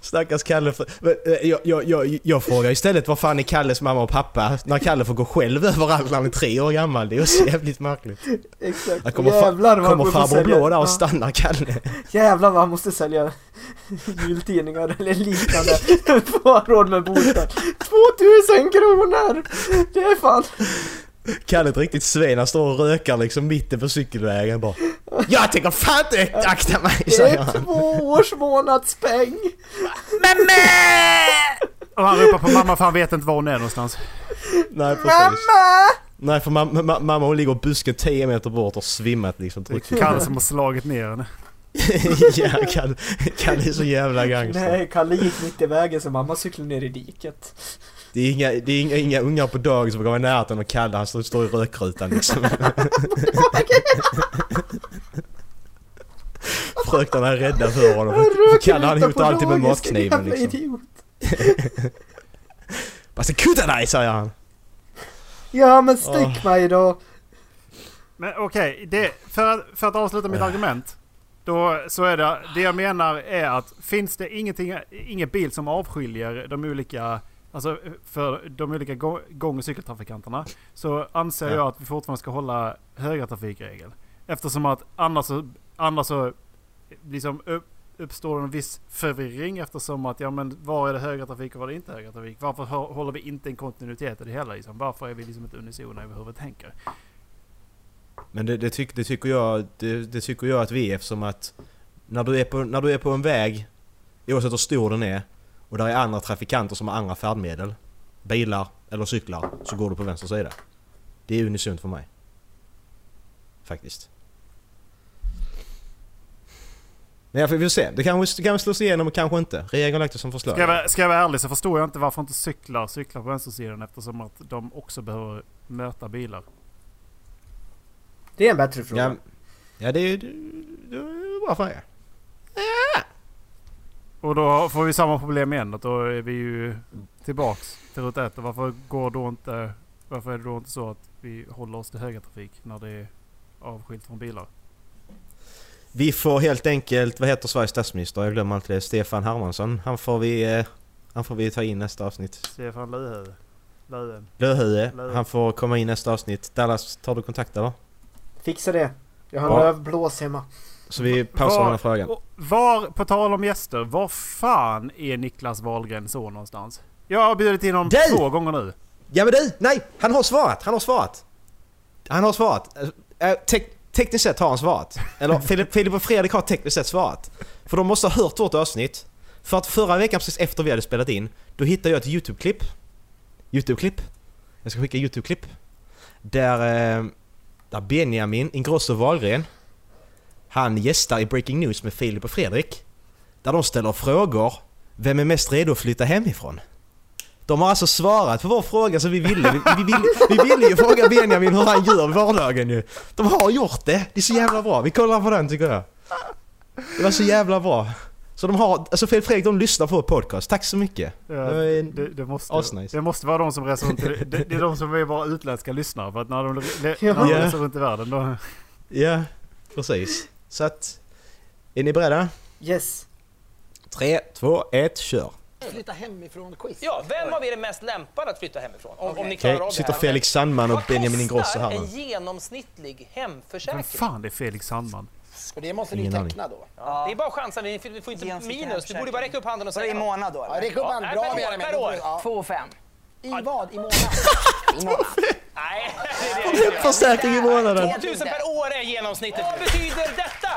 K: Stackars Kalle. För, men, eh, jag, jag, jag, jag frågar istället vad fan är Kalles mamma och pappa när Kalle får gå själv överallt när han är tre år gammal. Det är ju så jävligt märkligt.
J: Exakt.
K: Här kommer,
J: Jävlar
K: fa-
J: vad
K: kommer
J: han får
K: farbror
J: sälja.
K: blå där
J: Ja.
K: och stannar Kalle.
J: Jävlar vad han måste sälja jultidningar eller liknande för att ha råd med boten. 2000 kronor! Det är fan...
K: Kalle är ett riktigt svin, han står och rökar liksom mitten på cykelvägen bara. Jag tänker fan inte akta mig
J: Det
K: säger
J: är
K: han.
J: två års månadspeng!
H: Och han ropar på mamma för han vet inte var hon är någonstans.
K: Nej precis.
J: Mamma!
K: Nej för mamma, ma- mamma hon ligger i busken 10 meter bort och svimmat liksom.
H: Det
K: Tryckt.
H: är Kalle som har slagit ner henne.
K: ja Kalle, Kalle är så jävla gangster.
J: Nej, Kalle gick mitt i vägen så mamma cyklade ner i diket.
K: Det är inga, det är inga, inga ungar på dagis som kommer i närheten och Kalle han står, står i rökrutan liksom. Fröknarna är rädda för honom. Kalle han hotar alltid med matkniven liksom.
J: liksom.
K: Fast det kuttar dig säger han.
J: Ja men stick
K: Ah.
J: mig då!
H: Men okej, det- för, att- för att avsluta mitt argument. Då så är det, det jag menar är att finns det ingenting, ingen bil som avskiljer de olika, alltså för de olika gå- gång och cykeltrafikanterna. Så anser
K: Ja.
H: jag att vi fortfarande ska hålla höga trafikregel. Eftersom att annars så, annars så liksom upp, uppstår en viss förvirring eftersom att ja men var är det höga trafik och var är det inte höga trafik? Varför hå- håller vi inte en kontinuitet i det hela liksom? Varför är vi liksom inte unisona i hur vi tänker?
K: Men det, det, tyck, det, tycker jag, det, det tycker jag att vi är eftersom att när du är på, när du är på en väg, oavsett hur stor den är, och där är andra trafikanter som har andra färdmedel, bilar eller cyklar, så går du på vänster sida. Det är unisont för mig. Faktiskt. Men jag får- vi får se. Det kanske, det kanske slås igenom och kanske inte. Regeringen har lagt det som förslag.
H: Ska jag, vara- ska jag vara ärlig så förstår jag inte varför inte cyklar cyklar på vänstersidan eftersom att de också behöver möta bilar.
J: Det är en bättre fråga.
K: Ja, ja det är ju... det- det är en bra fråga.
H: Och då får vi samma problem igen. Att då är vi ju tillbaks till ruta ett. Och Varför går då inte Varför är det då inte så att vi håller oss till högertrafik när det är avskilt från bilar?
K: Vi får helt enkelt, vad heter Sveriges statsminister? Jag glömmer alltid det. Stefan Hermansson. Han får vi, eh, han får vi ta in nästa avsnitt.
H: Stefan Löfven. Löfven.
K: Löhöje,
H: Löfven.
K: han får komma in nästa avsnitt. Dallas, tar du kontakt eller?
J: Fixa det. Jag har
K: Ja.
J: lövblås hemma.
K: Så vi pausar den här frågan.
H: och Var, på tal om gäster, var fan är Niklas Wahlgren så någonstans? Jag har bjudit in honom
K: Dig!
H: två gånger nu.
K: Ja men du! Nej! Han har svarat! Han har svarat! Han har svarat! Eh, tek- tekniskt sett har han svarat. Eller Filip, Filip och Fredrik har tekniskt sett svarat. För de måste ha hört vårt avsnitt. För att förra veckan precis efter vi hade spelat in, då hittade jag ett YouTube-klipp. YouTube-klipp. Jag ska skicka YouTube-klipp. Där, eh, där Benjamin Ingrosso Wahlgren, han gästar i Breaking News med Filip och Fredrik. Där de ställer frågor. Vem är mest redo att flytta hemifrån? De har alltså svarat på vår fråga som vi ville. Vi, vi, ville, vi ville ju fråga Benjamin hur han gör i vardagen ju. De har gjort det. Det är så jävla bra. Vi kollar på den tycker jag. Det var så jävla bra. Så de har, alltså Fredrik Fredrik de lyssnar på vår podcast. Tack så mycket.
H: Det, det, det, måste,
K: asnice.
H: det måste vara de som reser runt. i- Det, det är de som är våra utländska lyssnare. För att när de, le- när de
K: Ja.
H: reser runt i världen då...
K: Ja, precis. Så att, är ni beredda?
J: Yes.
K: 3, 2, 1, kör.
L: Flytta hemifrån-quiz. Ja, vem av er är mest lämpad att flytta hemifrån? Om, om ni klarar
K: Okej,
L: av det
K: sitter
L: här.
K: Felix Sandman och Benjamin Ingrosso här
L: Vad
K: nu.
L: kostar en genomsnittlig hemförsäkring?
H: Vem fan är Felix Sandman?
L: Och det måste
K: ni Ingen aning. teckna
L: då? Ja. Det är bara chansen, ni får- ni får inte
M: Genomsnittlig
L: minus. Du borde bara räcka upp handen och
M: Var det
L: säga
M: i månad då?
L: Ja, räck upp handen. Bra,
M: per år.
L: Benjamin.
M: Per år.
L: Ja.
M: Två och fem.
L: I vad? I månad?
M: I månad.
L: Nej,
K: Försäkring i månaden.
L: 2000 per år är genomsnittet. Vad betyder detta?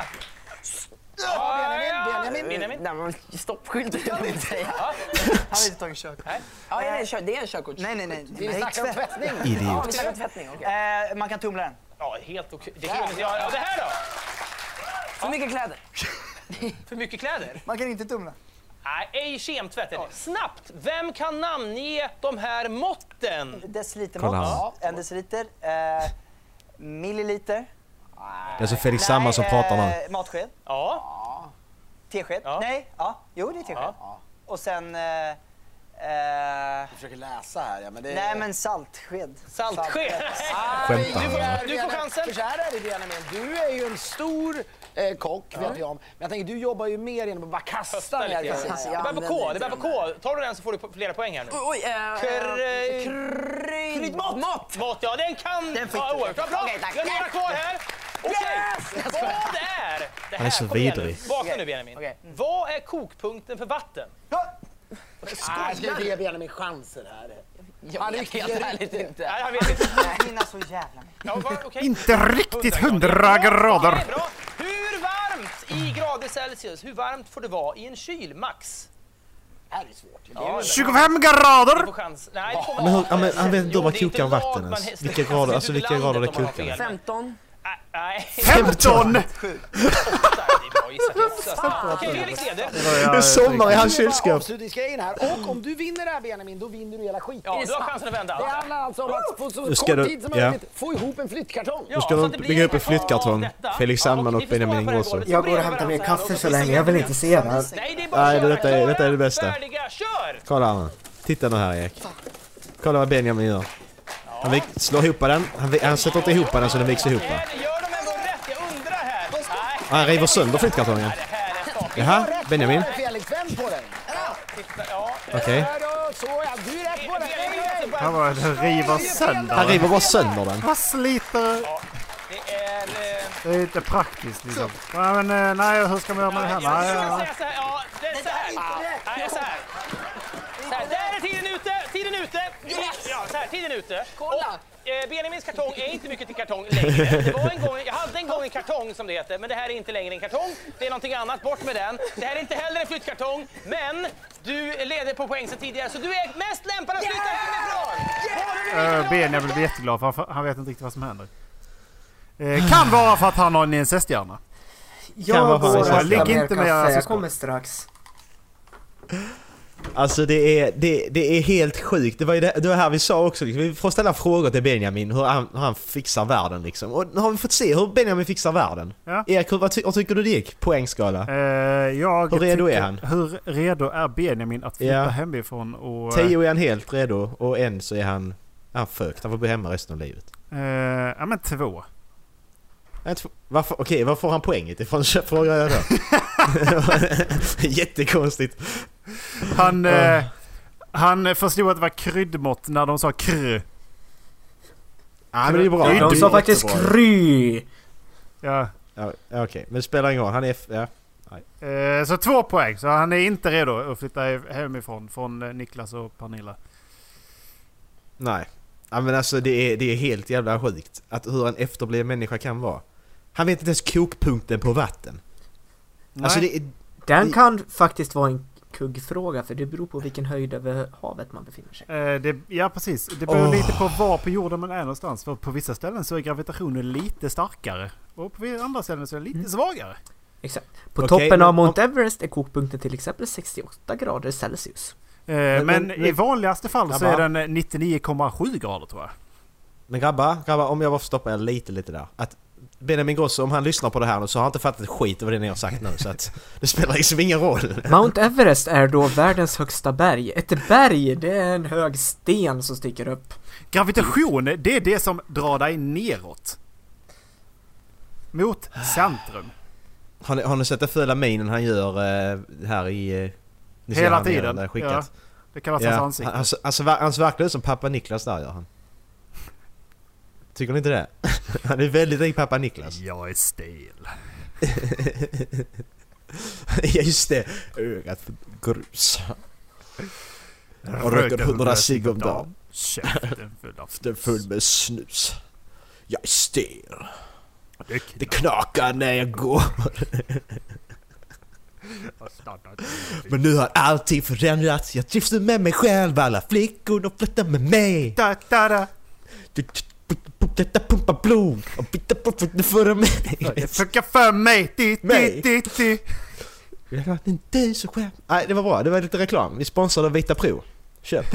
L: Benjamin, Benjamin.
M: Nej, men stoppskylt kan jag inte säga. Han har inte tagit körkort. Nej. Ja, nej, kör- det är en körkort. Nej, nej, nej.
L: Vi snackar om tvättning. Idiot.
M: Ja, vi snackar om tvättning. okej. Eh, man kan tumla den.
L: Ja, helt okej. Det, är helt- ja, ja, det här då?
M: För mycket kläder.
L: För mycket kläder?
M: Man kan inte tumla.
L: Nej, ej kemtvätt är det. Snabbt! Vem kan namnge de här måtten?
M: Decilitermått.
K: Kolla här.
M: Ja, en deciliter. Eh, milliliter.
K: Det är alltså Felix Sandman som pratar nu.
M: Eh, matsked.
L: Ja.
M: Tesked. Nej. Ja. Jo, det är tesked. Och sen... Eh, jag försöker läsa här. Ja, men
L: det är-
M: Nej, men saltsked. Ah.
L: Saltsked.
K: Skämtar
M: Du får-
K: han?
M: du får chansen.
N: För så här är det Benjamin, du är ju en stor eh, kock vet jag om. Men jag tänker du jobbar ju mer genom att bara kasta
L: Lite
N: ner
L: grann.
N: grejer.
L: Det börjar på K. Det börjar på K. Tar du den så får du flera poäng här nu.
M: Oj, eh,
L: Kr- kryddmått! Mått. eh, ja, den kan den ta år. Bra, bra.
M: Okej, tack.
L: Vi har några kvar här. Okej.
M: Yes! Jag skojar.
L: Vad är... Det
K: Han är så
L: kom igen nu.
K: vidrig.
L: Vakna nu, Benjamin. Vad är kokpunkten för vatten?
N: Ah, jag ska ge Benjamin chanser här.
M: Jag vet helt ärligt inte.
L: Nej, han vet inte.
M: Hinna så jävla mycket.
L: Ja, var, okej.
H: Inte riktigt hundra grader!
L: Bra. Hur varmt i grader Celsius, hur varmt får det vara i en kyl, max? Det här är svårt.
H: 25 grader!
L: Nej, det får
K: Men hur,
L: vara-
K: ja, men han vet inte
L: Jo,
K: om vad
L: det är inte
K: kokar
L: lag
K: vatten
L: man
K: ens.
L: helst-
K: Vilka
L: Det är
K: grader,
L: inte
K: alltså vilka
L: landet
K: grader det
L: om man har fel.
K: kokar.
M: 15.
L: Nej.
H: 15!
L: Okej, Felix leder.
K: Nu sommar i hans kylskåp.
N: Avslutningsgrejen här. Och om du vinner det här Benjamin, då vinner du hela skiten.
L: Ja, du har chansen att vända
N: Det
L: allt.
N: handlar alltså om att på så
K: Nu ska
N: kort
K: du-
N: tid som
K: ja.
N: möjligt få ihop en flyttkartong.
K: Nu ska de bygga upp en flyttkartong. Felix Sandman och Benjamin Ingrosso.
J: Jag går och hämtar mer kaffe så länge. Jag vill inte se det här.
K: Nej, detta är, detta är det bästa. Kolla här nu. Titta nu här Erik. Kolla vad Benjamin gör. Han vik- slår ihop den. Han, vi- han sätter inte ihop den så den viks ihop. Han river sönder flyttkartongen. Jaha, Benjamin.
N: Felix, vänd på den.
K: Okej.
N: Så ja, du är rätt på den.
H: Han var han river sönder
K: Han river bara sönder den.
H: Han sliter... Det är inte praktiskt liksom. Nej men eh, nej, hur ska man göra med det här? Nej, ja,
L: Så här, ja, det är så här. Nej, så här. Så här, där är tiden ute! Tiden ute! Ja, så här, tiden ute. Kolla! Och, eh, Benjamins kartong är inte mycket till kartong längre. Det var en gång, jag hade en gång en kartong som det heter, men det här är inte längre en kartong. Det är någonting annat, bort med den. Det här är inte heller en flyttkartong, men du leder på poäng sedan tidigare, så du är mest lämpad att flytta hemifrån!
H: eh, Benjamin blir jätteglad för han, han vet inte riktigt vad som händer. Eh, kan vara för att han har en incesthjärna.
K: Jag vara för går att och incesthjärna. hämtar
H: Ligg
K: mer
H: inte
K: kaffe.
H: med
K: Jag
H: alltså,
K: kommer
J: strax.
K: Alltså det är, det, det är helt sjukt. Det var ju det, det var här vi sa också. Liksom. Vi får ställa frågor till Benjamin hur han, hur han fixar världen liksom. Och nu har vi fått se hur Benjamin fixar världen. Erik, hur, vad, ty, vad tycker du det gick? Poängskala?
H: Eh, jag
K: Hur redo är
H: tycker-
K: han?
H: Hur redo är Benjamin att flytta
K: Ja.
H: hemifrån och... eh,
K: 10 är han helt redo och en så är han Han fökt, han får bo hemma resten av livet.
H: Eh, ja men två.
K: Nej, två. Varför, okej, var får han poänget ifrån? Frågar jag då. Jättekonstigt.
H: Han, eh, han förstod att det var kryddmått när de sa kr.
K: Ja, men det är ju bra.
H: Krydd-
K: Det är jättebra.
H: Ja.
K: Ja, ja, okej, men det spelar ingen roll. Han är... f- Ja. Nej.
H: Eh, så två poäng. Så han är inte redo att flytta hemifrån från eh, Niklas och Pernilla.
K: Nej. Ja, men alltså det är, det är helt jävla sjukt att hur en efterbliven människa kan vara. Han vet inte ens kokpunkten på vatten. Alltså det är...
J: Den
K: det-
J: kan faktiskt vara en kuggfråga för det beror på vilken höjd över havet man befinner sig.
H: Eh, det, ja precis. Det beror
J: Åh.
H: lite på var på jorden man är någonstans. För på vissa ställen så är gravitationen lite starkare. Och på andra ställen så är den lite
K: Mm.
H: svagare.
J: Exakt. På
H: Okej,
J: toppen
H: men
J: av Mount Everest är kokpunkten till exempel 68 grader Celsius.
H: Eh, men, i vanligaste fall så
K: Grabbar.
H: är den eh, 99,7 grader tror jag.
K: Men grabbar, grabbar, om jag bara får stoppa er lite, lite där. Att Benjamin Grosso, om han lyssnar på det här nu så har han inte fattat ett skit av det ni har sagt nu så att det spelar liksom ingen roll.
J: Mount Everest är då världens högsta berg. Ett berg, det är en hög sten som sticker upp.
H: Gravitation, det är det som drar dig neråt. Mot centrum.
K: Har ni, har ni sett den fula minen han gör eh, här i... eh, ni ser
H: Hela
K: han gör
H: tiden,
K: den där skickat.
H: ja. Det kallas hans ansikte.
K: Han, han, han, ser- han ser verkligen ut som pappa Niklas där gör han. Tycker ni inte det? Han är väldigt lik pappa Niklas.
H: Jag är stel.
K: ja just det, ögat för grus. Och röker
H: Röker
K: hundra
H: hundra cigg
K: cigg om
H: om
K: dagen.
H: dagen. Käften full av
K: Den full med snus. Jag är stel. Det knakar när jag går. Men nu har allting förändrats. Jag trivs nu med mig själv. Alla flickor de flörtar med mig.
H: Da, da, da.
K: Detta pumpar blod. Och bitta på fötter för mig.
H: Det funkar för mig! Di, di,
K: Mig.
H: di, di.
K: Jag har inte så själv. Nej, det var bra. Det var lite reklam. Vi sponsrade av Vita Pro. Köp.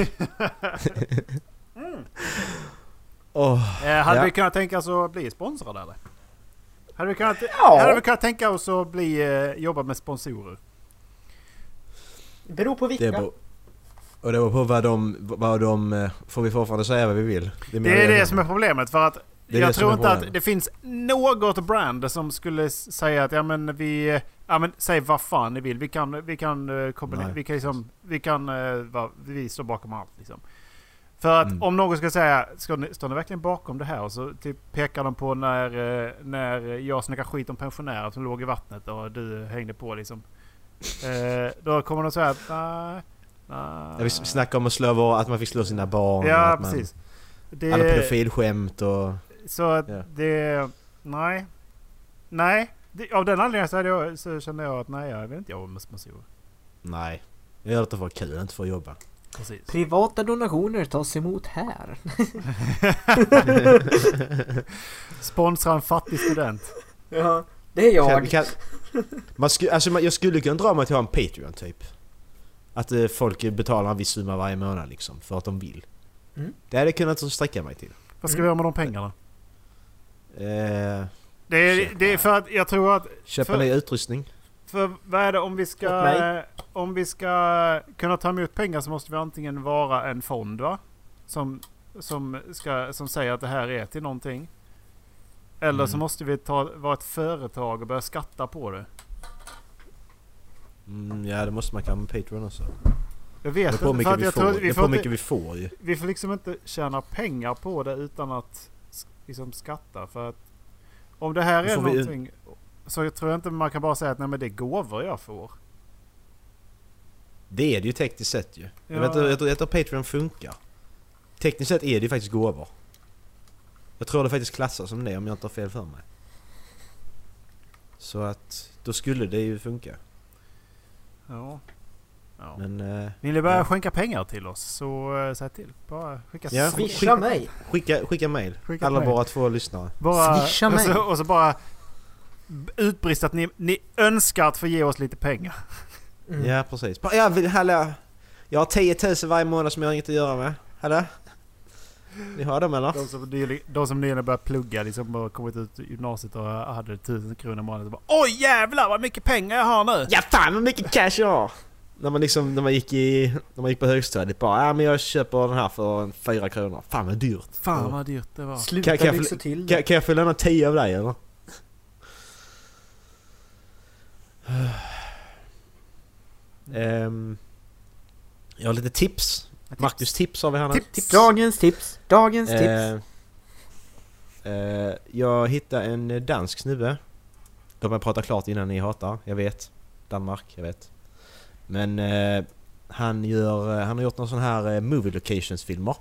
K: Åh,
H: Eh, hade
K: ja.
H: vi kunnat tänka oss att bli sponsrade eller? Hade vi kunnat,
J: Ja.
H: hade vi kunnat tänka oss att bli, eh, jobba med sponsorer?
J: Beror på
K: Det beror, och det beror på vad de, vad de... eh, Får vi fortfarande säga vad vi vill? menar
H: Det är
K: jag.
H: det som är problemet för att
K: Det är det
H: jag
K: som
H: tror
K: är
H: inte att
K: problemet.
H: det finns något brand som skulle s- säga att ja men vi, eh, ja men säg vad fan ni vill. Vi kan, vi kan eh, kombinera,
K: Nej.
H: vi kan liksom, vi kan, eh, va, vi står bakom allt liksom. För
K: Mm.
H: att om någon ska säga, ska ni, står ni verkligen bakom det här? Och så typ pekar de på när, eh, när jag snackar skit om pensionärer som låg i vattnet och du hängde på liksom. Eh, då kommer de säga att nej, nej.
K: Ja, Vi snackade om att slå våra, att man fick slå sina barn.
H: Ja,
K: att man,
H: precis. Det-
K: Alla pedofilskämt och...
H: Så att
K: Ja.
H: det... Nej. Nej. Det, av den anledningen så, hade jag, så kände jag att nej, jag vill inte jobba med sponsorer.
K: Nej. Jag gör det för att vara kul, inte för att jobba.
H: Precis.
J: Privata donationer tas emot här.
H: Sponsra en fattig student.
J: ja, det är jag.
K: Kan, kan, man sku, alltså man, jag skulle kunna dra mig till att ha en Patreon typ. Att eh, folk betalar en viss summa varje månad liksom, för att de vill.
H: Mm.
K: Det hade jag kunnat sträcka mig till.
H: Vad ska vi göra med de pengarna?
K: Eh,
H: Det är, det är för att jag tror att...
K: köpa
H: för,
K: ny utrustning.
H: för vad är det om vi
K: Åt
H: ska...
K: mig.
H: Om vi ska kunna ta emot pengar så måste vi antingen vara en fond va? Som, som, ska, som säger att det här är till någonting. Eller så
K: Mm.
H: måste vi ta, vara ett företag och börja skatta på det.
K: Mm, ja, det måste man kanske med Patreon också.
H: Jag vet
K: det. beror på
H: inte, för att
K: mycket vi
H: jag tror att
K: får.
H: vi
K: Det beror
H: får
K: på
H: inte-
K: mycket vi får ju.
H: Vi får liksom inte tjäna pengar på det utan att s- liksom skatta. För att om det här
K: Då
H: är
K: får vi-
H: någonting så jag tror jag inte man kan bara säga att nej men det är gåvor jag får.
K: Det är det ju tekniskt sett ju.
H: Ja.
K: Jag, vet, inte- jag, tror, jag tror Patreon funkar. Tekniskt sett är det ju faktiskt gåvor. Jag tror det faktiskt klassas som det om jag inte har fel för mig. Så att då skulle det ju funka.
H: Ja. ja.
K: Men... Eh,
H: Vill ni börja
K: ja.
H: skänka pengar till oss så eh, säg till. Bara skicka
K: Ja, sk- skicka- Skicka, skicka mail.
H: Skicka
K: Alla
H: mail.
K: våra två lyssnare.
H: Bara, och, så, och så bara b- utbrist att ni, ni önskar att få ge oss lite pengar.
K: Ja precis. Bara, Jag vill, hallå! Jag har 10 000 varje månad som jag har inget att göra med. Hallå? Ni har dem eller?
H: De som, nyligen- de som nyligen börjat plugga liksom och kommit ut ur gymnasiet och hade 1000 kronor i månaden. så bara, Oj jävlar vad mycket pengar jag har nu!
K: Ja fan vad mycket cash jag har! När man liksom, när man gick i, när man gick på högstadiet bara, ja men jag köper den här för en fyra kronor. Fan vad dyrt.
H: Fan vad dyrt det var.
K: Kan, kan, jag, få- kan, kan jag få låna tio av dig eller? Ehm, jag har lite tips. Marcus tips har vi här nu.
J: Dagens tips. Dagens tips.
K: Eh, eh, jag hittade en dansk snubbe. Låt mig prata klart innan ni hatar. Jag vet. Danmark, jag vet. Men eh, han, gör, han har gjort några sådana här eh, movie locations-filmer.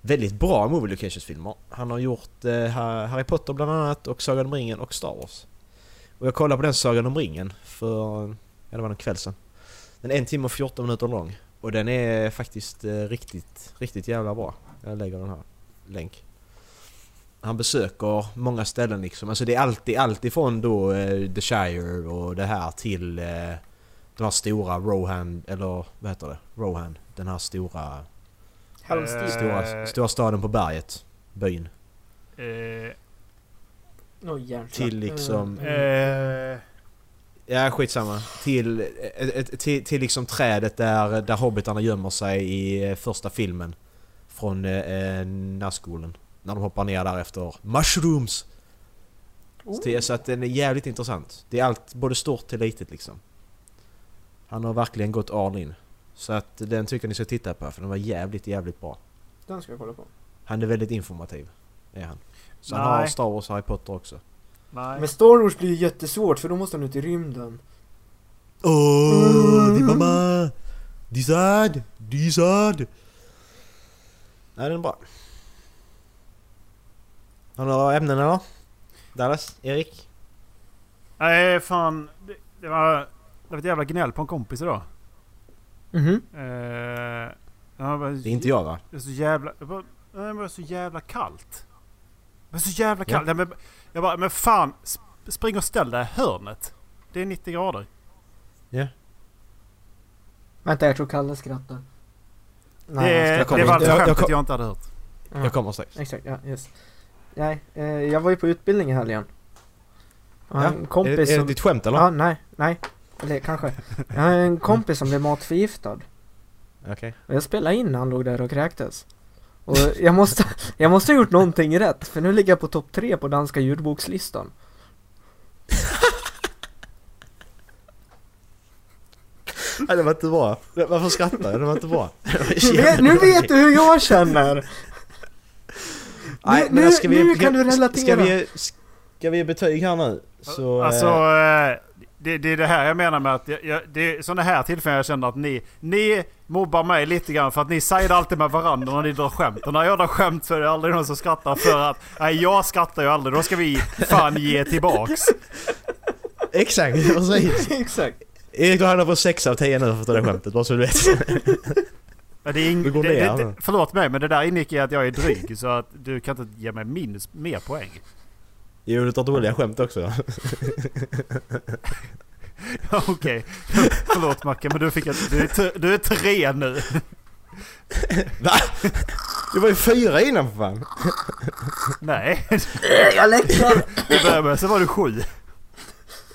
K: Väldigt bra movie locations-filmer. Han har gjort eh, Ha- Harry Potter bland annat och Sagan om ringen och Star Wars. Och jag kollade på den Sagan om ringen för, ja det var en kväll sedan. Den är en timme och 14 minuter lång. Och den är faktiskt eh, riktigt, riktigt jävla bra. Jag lägger den här länk. Han besöker många ställen liksom. Alltså det är alltid, alltid från då eh, The Shire och det här till eh, den här stora Rohan, eller vad heter det? Rohan. Den här stora...
H: Halmstad.
K: Stora, stora staden på berget. Byn.
H: Eh,
K: Till liksom...
H: Eh,
K: Ja, skitsamma. Till, ett- ett- till, till liksom trädet där, där hobbitarna gömmer sig i eh, första filmen. Från eh, eh, Nazgulen. När de hoppar ner där efter Mushrooms! Så, det, så att den är jävligt intressant. Det är allt, både stort till litet liksom. Han har verkligen gått all in. Så att den tycker ni ska titta på för den var jävligt, jävligt bra.
J: Den ska jag kolla på.
K: Han är väldigt informativ. Är han. Så han
J: Nej.
K: har Star Wars och Harry Potter också.
J: Men Star Wars blir ju jättesvårt för då måste han ut i rymden.
K: Åh, Oh, din mamma! Dizad! Dizad! Nej, den är bra. Har du några ämnen eller? Dallas? Erik?
H: nej fan. Det, det, var, det var ett jävla gnäll på en kompis idag.
J: Mhm.
H: Eh, han bara,
K: Det är inte jag, va?
H: Det är så jävla... Jag bara, nej, men det är så jävla kallt. Det är så jävla kallt. Nej, men, jag bara, men fan. sp- Spring och ställ dig i hörnet. Det är 90 grader.
J: Vänta, jag tror Kalle skrattar.
H: Det-
J: han
H: det
J: skrattar
H: var
J: inte.
H: alltså skämtet jag inte hade hört.
J: Ja.
K: Jag kommer strax.
J: Exakt, ja, yes. Nej, eh, jag var ju på utbildning i helgen. Och
K: Ja,
J: en kompis
K: är det- är det
J: som-
K: ditt skämt, eller?
J: Ja, nej, nej. Eller kanske. Jag har en kompis som blev matförgiftad.
K: Okej.
J: Och jag spelade in när han låg där och kräktes. Och jag måste, jag måste ha gjort någonting rätt, för nu ligger jag på topp tre på danska ljudbokslistan.
K: Nej, det var inte bra. Varför skrattar jag? Det var inte bra. Det var
J: Nu vet- nu vet du hur jag känner!
K: Nej,
J: Nu-
K: men
J: nu-
K: ska vi,
J: nu kan du relatera.
K: Ska vi, ska vi ge betyg här nu? Så, eh,
H: Alltså, eh, det, det är det här jag menar med att jag, jag, det är sådana här tillfällen jag känner att ni, ni mobbar mig lite grann för att ni säger alltid med varandra när ni drar skämt. Och när jag drar skämt så är det aldrig någon som skrattar för att nej, jag skrattar ju aldrig. Då ska vi fan ge tillbaks.
K: Exakt, precis.
J: Exakt.
K: Erik, du hamnar på 6 av 10 nu för det skämtet, bara så du vet.
H: Ja, Det är ing-
K: Vi går
H: det, det,
K: ner
H: det,
K: nu.
H: förlåt mig men det där ingick i att jag är dryg så att du kan inte ge mig minus, mer poäng.
K: Jo, du tar dåliga skämt också.
H: Ja, Okej, förlåt Macke men du fick ett, du, är t- du är tre nu.
K: Va? Det var ju fyra innan för fan.
H: Nej.
J: Jag läcker.
H: Det började med, så var du sju.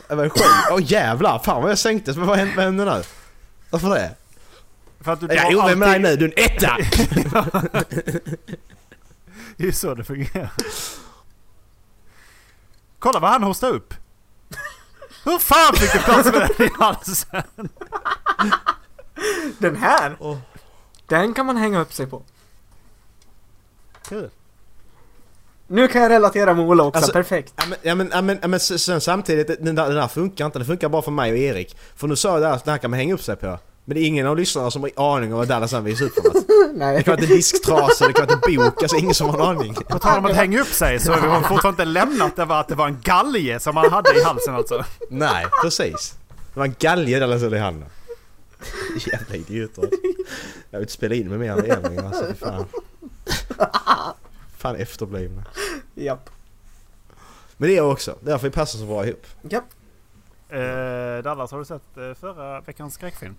K: Det var sju. Åh jävlar, fan vad jag sänktes. Men vad hände, vad hände nu? Varför det?
H: För att du
K: Jag
H: drar
K: är ovän med dig
H: alltid-
K: nu, du är en etta!
H: Det är ju så det fungerar. Kolla vad han hostar upp! Hur fan fick du plats med den i halsen?
J: Den här! Den kan man hänga upp sig på.
H: Kul.
J: Nu kan jag relatera med Ola också,
K: Alltså,
J: perfekt.
K: Ja men, ja, men, ja, men, ja, men s- sen samtidigt, den där, den där funkar inte. Den funkar bara för mig och Erik. För nu sa jag Dallas, den här kan man hänga upp sig på. Men det är ingen av lyssnarna som har aning om vad Dallas han visar upp för något.
J: Nej.
K: Det kan vara inte disktrasor, det kan vara inte bok, alltså ingen som har en aning.
H: På tal om att hänga upp sig så har vi fortfarande inte lämnat det var att det var en galge som han hade i halsen alltså.
K: Nej, precis. Det var en galge Dallas höll i handen. Jävla idioter. Jag vill inte spela in med mer än en gång alltså, fy fan. Fan efterblivna.
J: Japp.
K: Men det är jag också, därför vi passar så bra ihop.
J: Japp.
H: Eh, Dallas, har du sett eh, förra veckans skräckfilm?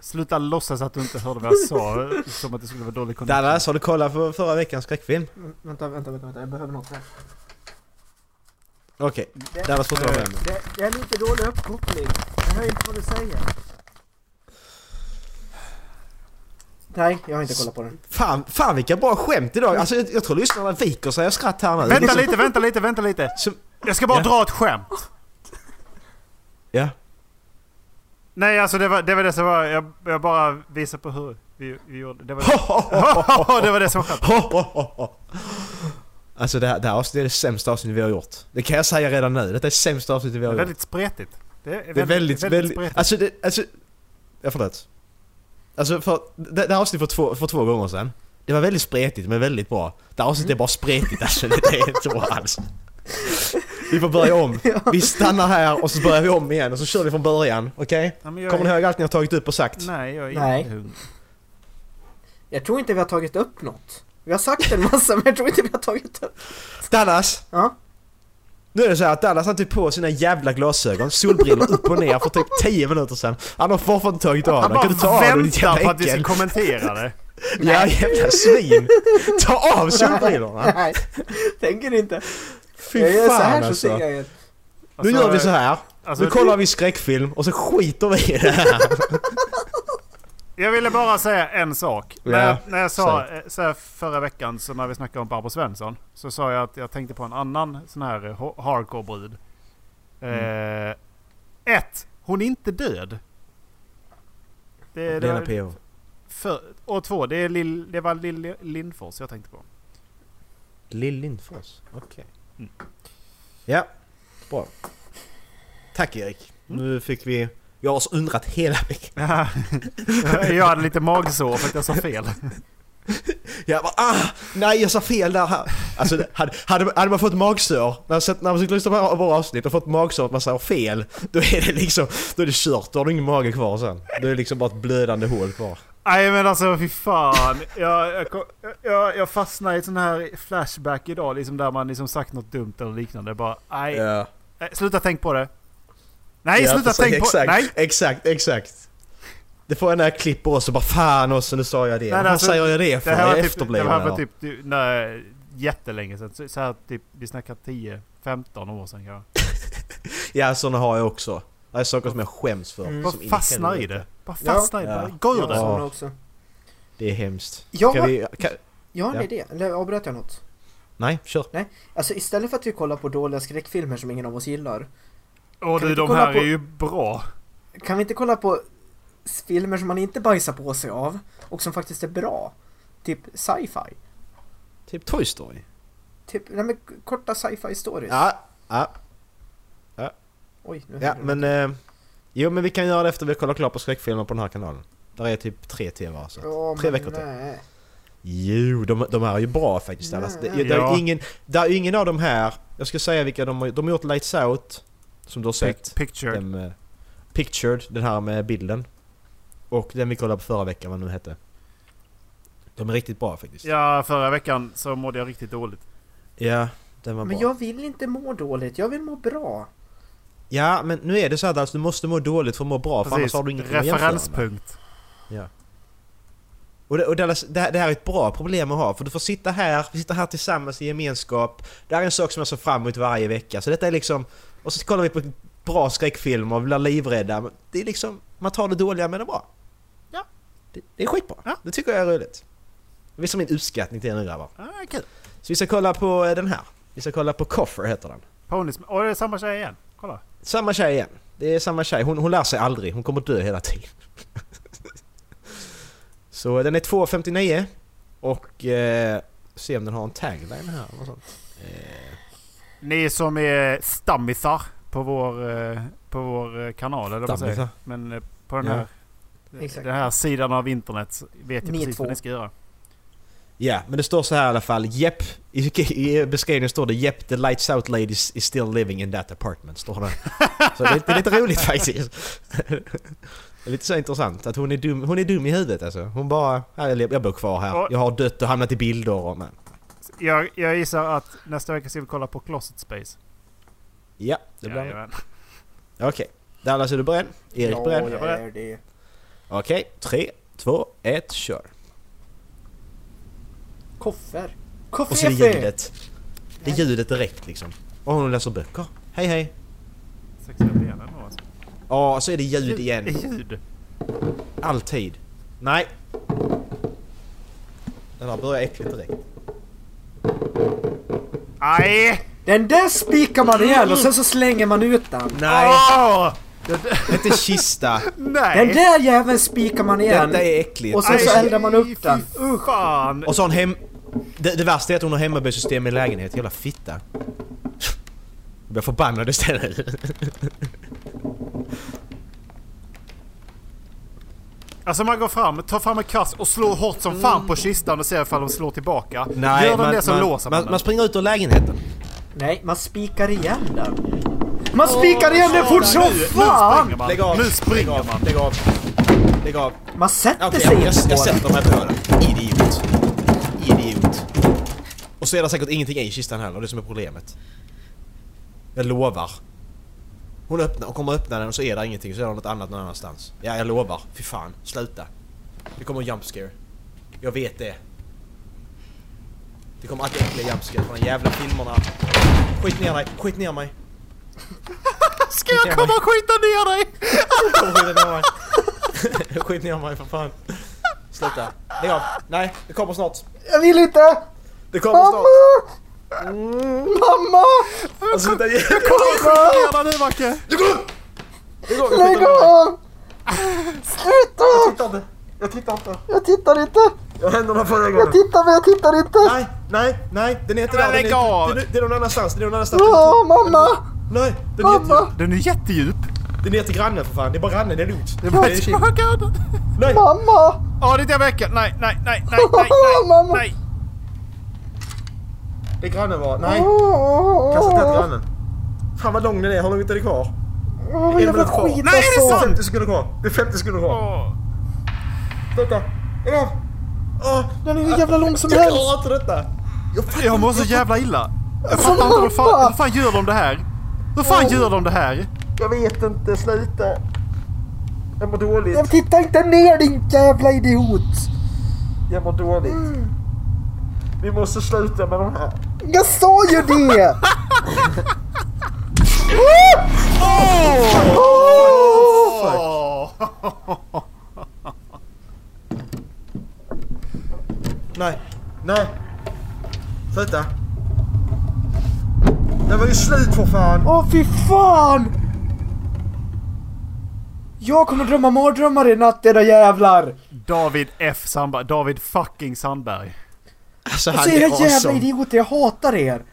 H: Sluta låtsas att du inte hörde vad jag sa, som att det skulle vara dålig connection.
K: Dallas, har du kollat på förra veckans skräckfilm?
J: Vänta, vänta, vänta, vänta. jag behöver något här.
K: Okej,
O: Det-
K: Dallas får inte vara med
H: Eh.
K: nu.
O: det, det är lite dålig uppkoppling. Jag hör inte vad du säger.
J: Nej, jag har inte kollat på den.
K: Fan, fan vilka bra skämt idag! Alltså jag, jag tror lyssnarna viker sig av skratt här nu.
H: Vänta
K: Liksom-
H: lite, vänta lite, vänta lite. Jag ska bara
K: Ja.
H: dra ett skämt.
K: Ja.
H: Nej, alltså det var det, var det som var... Jag, jag bara visade på hur vi, vi gjorde. Det var det. det var det som var
K: skämt. Alltså det här, det här avsnittet är det sämsta avsnittet vi har gjort. Det kan jag säga redan nu. Detta är det sämsta avsnittet vi
H: Det
K: har
H: är
K: gjort.
H: väldigt spretigt. Det är
K: Det är väldigt, väldigt...
H: spretigt.
K: alltså, det, alltså... Jag förlåt. Alltså, för, det, det här avsnittet för två, för två gånger sedan. Det var väldigt spretigt, men väldigt bra. Det här
H: Mm.
K: avsnittet är bara spretigt alltså. Det, det är inte bra alls. Vi får börja om. Vi stannar här och så börjar vi om igen och så kör vi från början. Okej?
H: Ja, men jag
K: Kommer ni
H: är-
K: ihåg allt ni har tagit upp och sagt?
H: Nej, jag
J: Nej. Jag tror inte vi har tagit upp något. Vi har sagt en massa men jag tror inte vi har tagit upp.
K: Dallas!
J: Ja?
K: Nu är det så här att Dallas han tog på sina jävla glasögon, solbrillor upp och ner för typ 10 minuter sedan. Han har fortfarande inte tagit av
H: Han
K: dem.
H: bara
K: Kan du ta av dem ditt
H: väntar på
K: jävla
H: att vi ska
K: äckel?
H: kommentera det.
K: Ja, jävla svin! Ta av solbrillorna!
J: Nej, tänker inte.
K: Fy
J: jag gör så
K: fan,
J: här så
K: alltså.
J: ser jag igen.
K: Nu gör vi så här.
H: alltså-
K: nu kollar vi skräckfilm och så skiter vi i det här.
H: Jag ville bara säga en sak.
K: Ja,
H: när, jag, när jag sa
K: säg.
H: eh, så här förra veckan så när vi snackade om Barbro Svensson. Så sa jag att jag tänkte på en annan sån här eh, ho- hardcore-brud.
K: Mm.
H: Eh, ett, hon är inte död. Det,
K: Lena
H: var-
K: PH.
H: För, och två, det, är Lill, det var Lill Lindfors jag tänkte på.
K: Lill Lindfors, okej. Ja, bra. Tack Erik. Nu fick vi... Jag har så undrat hela veckan.
H: jag hade lite magsår för att jag sa fel.
K: Jag bara ah, nej jag sa fel där. Alltså det- hade, hade, hade man fått magsår, när, jag sett- när man skulle lyssna på våra avsnitt och fått magsår att man säger fel, då är det liksom, då är det kört. Då har du ingen mage kvar sen. Då är det liksom bara ett blödande hål kvar.
H: Nej men alltså fy fan. Jag, jag, kom- jag, jag fastnade i sån här flashback idag liksom där man liksom sagt något dumt eller liknande. Bara nej.
K: Ja.
H: Nej, Eh, Sluta tänk på det. Nej
K: Ja,
H: sluta
K: precis,
H: tänk på
K: exakt,
H: Nej.
K: Exakt, exakt. Det får jag när jag klipper också, bara fan också nu sa jag det.
H: Nej,
K: Vad
H: alltså,
K: säger jag det för?
H: här
K: jag
H: var
K: är
H: typ, det
K: efterbliven.
H: här var
K: eller?
H: typ du- nej, jättelänge sedan. Så, så här typ, vi snackar 10, 15 år sedan kanske.
K: Ja, sådana har jag också. Det är saker som jag skäms för.
H: Mm.
K: som
H: Bara
K: in i
H: fastnar i
K: helvete.
H: det. Bara fastnar i det. Bara gå ur
J: jag har
H: det.
J: såna också.
K: Det är hemskt.
J: Jag
K: Ska
J: har,
K: vi- kan-
J: jag har en
K: Ja.
J: idé, eller avbröt jag något?
K: Nej, kör.
J: Nej, alltså istället för att vi kollar på dåliga skräckfilmer som ingen av oss gillar.
H: Och
J: kan vi
H: du,
J: inte
H: de
J: kolla
H: här
J: på-
H: är ju bra.
J: Kan vi inte kolla på s- filmer som man inte bajsar på sig av och som faktiskt är bra? Typ sci-fi.
K: Typ Toy Story?
J: Typ, nej men k- korta sci-fi stories.
K: Ja, ja. Ja,
J: Oj, nu
K: ja men... Eh, jo, men vi kan göra det efter vi kollar klart på skräckfilmer på den här kanalen. Där är typ tre timmar så.
J: Ja,
K: tre
J: men
K: veckor till.
J: nej.
K: Jo, de, de här är ju bra faktiskt. Dallas. Det,
J: Nej.
K: det, det, är
J: Ja.
K: ju ingen, det är ju ingen av de här... Jag ska säga vilka de har De har gjort Lights Out, som du har sett.
H: Pictured.
K: Den, med- pictured, den här med bilden. Och den vi kollade på förra veckan, vad den nu hette. De är riktigt bra faktiskt.
H: Ja, förra veckan så mådde jag riktigt dåligt.
K: Ja, den var bra.
J: Men jag vill inte må dåligt, jag vill må bra.
K: Ja, men nu är det så här att du måste må dåligt för att må bra, för annars har du ingenting att jämföra med.
H: Referenspunkt.
K: Ja. Och, det, och Dallas, det, här- det här är ett bra problem att ha, för du får sitta här, vi sitter här tillsammans i gemenskap. Det här är en sak som jag ser fram emot varje vecka, så detta är liksom... Och så kollar vi på bra skräckfilmer och blir livrädda. Men Det är liksom, man tar det dåliga med det bra.
H: Ja.
K: Det, det är skitbra. Det tycker jag är roligt. Det är som min uppskattning till er nu grabbar.
H: Ah, kul.
K: Så vi ska kolla på eh, den här. Vi ska kolla på Coffer heter den.
H: Ponys... Åh, det är samma tjej igen. Kolla.
K: Samma tjej igen. Det är samma tjej. Hon, hon lär sig aldrig. Hon kommer dö hela tiden. Så den är 2.59 och eh, se om den har en tagline här. eller sånt.
H: Ni som är stammisar på vår, eh, på vår eh, kanal, eller vad man säger.
K: Stammisar.
H: Men eh, på den
K: Ja.
H: här,
J: Exakt.
H: den här sidan av internet så vet jag
J: Ni
H: precis vad
J: två.
H: ni ska göra.
K: Ja, men det står så här i alla fall. Jepp, i, i beskrivningen står det Jepp, the lights out lady is is still living in that apartment. Står det. Så det, det är lite roligt faktiskt. Det är lite så intressant att hon är dum, hon är dum i huvudet alltså. Hon bara, "Ja, jag lever- jag bor kvar här. Jag har dött och hamnat i bilder och men.
H: Jag, jag gissar att nästa vecka ska vi kolla på Closet Space.
K: Ja, det blir det.
H: Jajamän.
K: Okej. Dallas, är du beredd? Erik
H: Ja,
K: beredd?
H: jag är
J: det.
K: Okej, tre, två, ett, kör.
J: Koffer.
K: Och så det
J: Koffefe!
K: ljudet. Det ljudet direkt liksom. Och hon läser böcker. Hej hej!
H: Sexuell del ändå alltså.
K: Ja, så är det ljud igen.
H: Ljud?
K: Alltid. Nej! Den här börjar äckligt direkt.
H: Nej!
O: Den där spikar man igen och sen så slänger man ut den.
K: Nej!
H: Ah! Åh!
K: Inte kista!
O: Den där jäveln spikar man igen.
K: Detta är äckligt.
O: Och sen så eldar man upp den.
H: Usch. Fan!
K: Och så har hon hem... Det, det värsta är att hon har hemmabysystem i lägenhet. Jävla fitta. Jag blir förbannad istället.
H: Alltså man går fram, tar fram en kast och slår hårt som fan
O: Mm.
H: på kistan och ser ifall de slår tillbaka.
K: Nej,
H: Gör de
K: man,
H: det så
K: man,
H: låser man,
K: man, man springer ut ur lägenheten.
O: Nej, man spikar igen den. Man spikar igen den fort som fan!
K: Lägg av! Nu springer lägg av, man! Lägg av! Lägg av!
O: Man sätter
K: Okej,
O: sig
K: jag, jag,
O: inte på
K: jag
O: den.
K: sätter mig på den. Idiot! Idiot! Och så är det säkert ingenting i kistan heller, det är som är problemet. Jag lovar. Hon öppnar, hon kommer öppna den och så är det ingenting, så är det något annat någon annanstans. Ja, jag lovar. Fy fan, sluta. Det kommer en jump scare. Jag vet det. Det kommer alltid äckliga jump scare från de jävla filmerna. Skit ner dig, skit ner mig!
H: Ska jag komma och skita ner dig?
K: Skit ner mig. Skit ner mig för fan. Sluta. Lägg av. Nej, det kommer snart.
O: Jag vill inte!
K: Det kommer
O: Mamma! Mm.
K: snart.
O: Mamma!
K: Alltså, det är...
H: Jag kommer och skita ner dig nu Macke!
K: Lägg av!
O: Lägg av!
K: Jag
O: Sluta!
K: tittar inte. Jag tittar inte.
O: Jag tittar inte!
K: Jag händerna förra
O: Jag
K: gången.
O: tittar men jag tittar inte!
K: Nej, nej, nej. Den är inte
H: Men
K: där. Den
H: lägg
K: är,
H: av.
K: den är, den är någon annanstans. Den är någon annanstans.
O: Åh, mamma!
K: Nej, den är
O: Mamma!
H: Den är jättedjup.
K: Den är till grannen för fan. Det är bara grannen. Det är lugnt.
H: Det är bara Oh
K: Det är
H: ett
K: chill.
H: ögon.
K: Nej!
O: Mamma!
H: Ja, det är där veckan. Nej, nej, nej, nej, nej, nej,
O: Mamma.
H: nej.
K: Det är grannen var. Nej! Kasta inte till grannen. Fan vad lång den är. Hur långt är det kvar?
O: Åh,
K: en
O: jävla
K: minut kvar.
O: skit
H: Nej, är det
O: alltså!
H: sant?
K: 50 sekunder kvar. Det är 50 sekunder kvar.
H: Åh.
K: Sluta. Lägg av! Åh,
O: Den är hur jävla lång som
K: Jag
O: helst!
K: klarar inte detta.
H: Jag mår så jävla illa. Jag fattar inte hur fan, hur fan gör de det här? Hur fan gör de det här?
K: Jag vet inte. Sluta. Jag mår dåligt.
O: Jag tittar inte ner din jävla idiot! Mm.
K: Jag mår dåligt. Vi måste sluta med de här.
O: Jag sa ju det!
K: Nej. Nej. Sluta. Det var ju slut för fan.
O: Åh fy fan! Jag kommer drömma mardrömmar i natt era jävlar!
H: David F Sandberg. David fucking Sandberg.
K: Alltså
O: Alltså era jävla idioter, jag hatar er!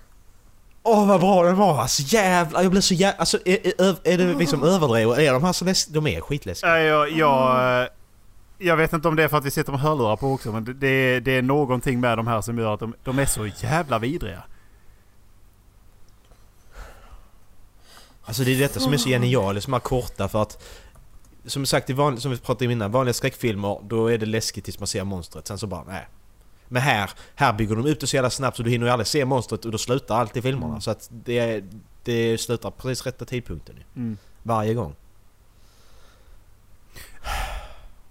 K: Åh vad bra den var. Alltså jävlar. Jag blev så jävla... Alltså är, är, är- är det liksom
O: Mm.
K: överdrivet? Är de här så läs... De är skitläskiga.
H: Nej, Jag, jag, eh, jag vet inte om det är för att vi sitter med hörlurar på också men det- det, är- det är någonting med de här som gör att de, de är så jävla vidriga.
K: Alltså det är detta som är så genialiskt, de här korta för att Som sagt, i van, som vi pratade om innan, vanliga skräckfilmer då är det läskigt tills man ser monstret, sen så bara nej. Men här, här bygger de upp det så jävla snabbt så du hinner ju aldrig se monstret och då slutar allt i filmerna. Så att det, det slutar precis rätta tidpunkten ju.
H: Mm.
K: Varje gång.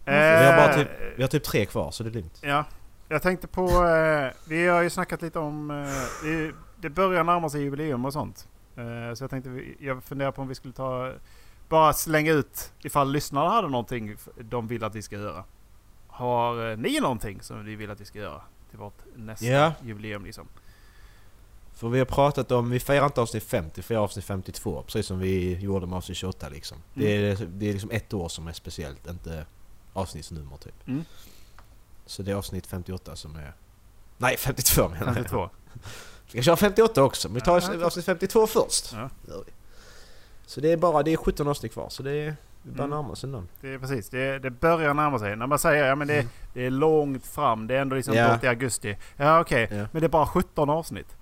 H: Vi
K: Vi har bara typ,
H: Eh,
K: vi har typ tre kvar så det är lugnt.
H: Ja, jag tänkte på... Eh, vi har ju snackat lite om... Eh, det, det börjar närma sig jubileum och sånt. Eh, så jag tänkte, vi- jag funderar på om vi skulle ta... Bara slänga ut ifall lyssnarna hade någonting f- de vill att vi ska göra. Har eh, ni någonting som ni vill att vi ska göra till vårt nästa
K: Ja.
H: jubileum liksom?
K: För vi har pratat om, vi firar inte avsnitt 50, vi firar avsnitt 52. Precis som vi gjorde med avsnitt 28 liksom.
H: Mm.
K: Det, är, det är liksom ett år som är speciellt, inte avsnittsnummer typ.
H: Mm.
K: Så det är avsnitt 58 som är... Nej, 52 menar jag.
H: 52?
K: Vi ska köra 58 också, men vi
H: Ja,
K: tar
H: jag tror-
K: avsnitt 52 först.
H: Ja.
K: Gör vi. Så det är bara, det är 17 avsnitt kvar, så det är... Vi börjar
H: Mm.
K: närma oss ändå.
H: Det är precis, det, det börjar närma sig. När man säger ja men det, det är långt fram, det är ändå liksom
K: Mm. Ja.
H: bort i augusti. Ja okej,
K: Ja.
H: men det är bara 17 avsnitt.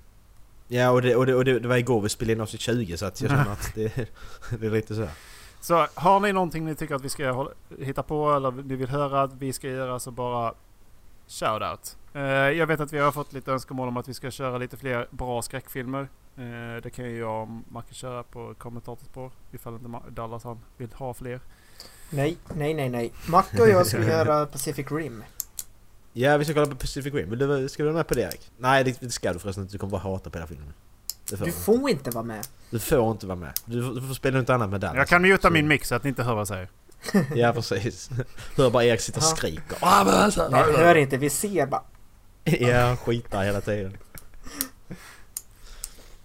K: Ja, och det, och det, och det, det var igår vi spelade in avsnitt 20 så att jag känner att det, det är lite så. här.
H: Så har ni någonting ni tycker att vi ska hålla, hitta på eller ni vill höra att vi ska göra så bara shoutout. Eh, jag vet att vi har fått lite önskemål om att vi ska köra lite fler bra skräckfilmer. Eh, det kan ju jag och Macke köra på kommentatorspår ifall inte Ma- Dallas han vill ha fler.
J: Nej, nej, nej, nej. Macke och jag skulle göra Pacific Rim.
K: Ja, vi ska kolla på Pacific Rim. Vill du, ska du vara med på det Erik? Nej, det, det ska du förresten inte. Du kommer bara hata på hela filmen. Det får
J: Du
K: du.
J: får inte vara med.
K: Du får inte vara med. Du, du får spela något annat med Dallas.
H: Jag kan muta min mix så att ni inte hör vad jag säger.
K: Ja, precis. Hör bara Erik sitta och skrika.
J: Nej, hör inte. Vi ser bara.
K: Ja, skitar hela tiden.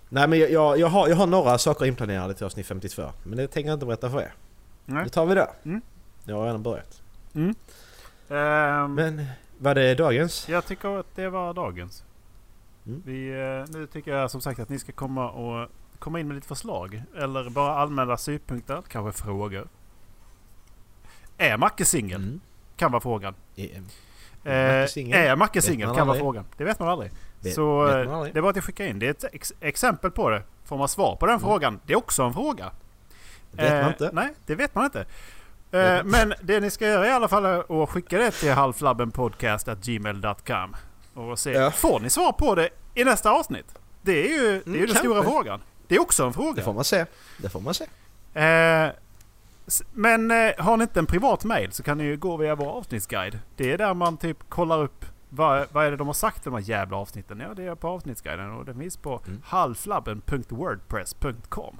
K: Nej men jag, jag, jag, har, jag har några saker inplanerade till avsnitt 52. Men det tänker jag inte berätta för er.
H: Nej.
K: Det tar vi då.
H: Mm.
K: Jag har redan börjat.
H: Mm. Ehm,
K: Men var det dagens?
H: Jag tycker att det var dagens. Vi, eh, nu tycker jag som sagt att ni ska komma och komma in med lite förslag. Eller bara allmänna synpunkter, kanske frågor. Mm. Är Macke singel? Kan vara frågan. Eh,
K: Macke singel?
H: är Macke
K: Vet
H: singel?
K: man
H: Kan vara
K: aldrig.
H: frågan. Det vet man aldrig.
K: Vet-
H: Så
K: vet
H: eh,
K: man aldrig.
H: det är bara att skicka in. Det är ett ex- exempel på det. Får man svar på den frågan? Det är också en fråga.
K: Mm.
H: Eh,
K: Vet man inte.
H: Nej, det vet man inte. Eh, Men det ni ska göra i alla fall är att skicka det till halflabbenpodcast.gmail.com och se. Får ni svar på det i nästa avsnitt? Det är ju, det är ju den
K: Mm, kanske.
H: stora frågan. Det är också en fråga.
K: Det får man se. Det får man se.
H: Eh, s- men eh, har ni inte en privat mail så kan ni ju gå via vår avsnittsguide. Det är där man typ kollar upp vad, vad är det de har sagt i de här jävla avsnitten. Ja, det är på avsnittsguiden och den finns på halflabben.wordpress.com.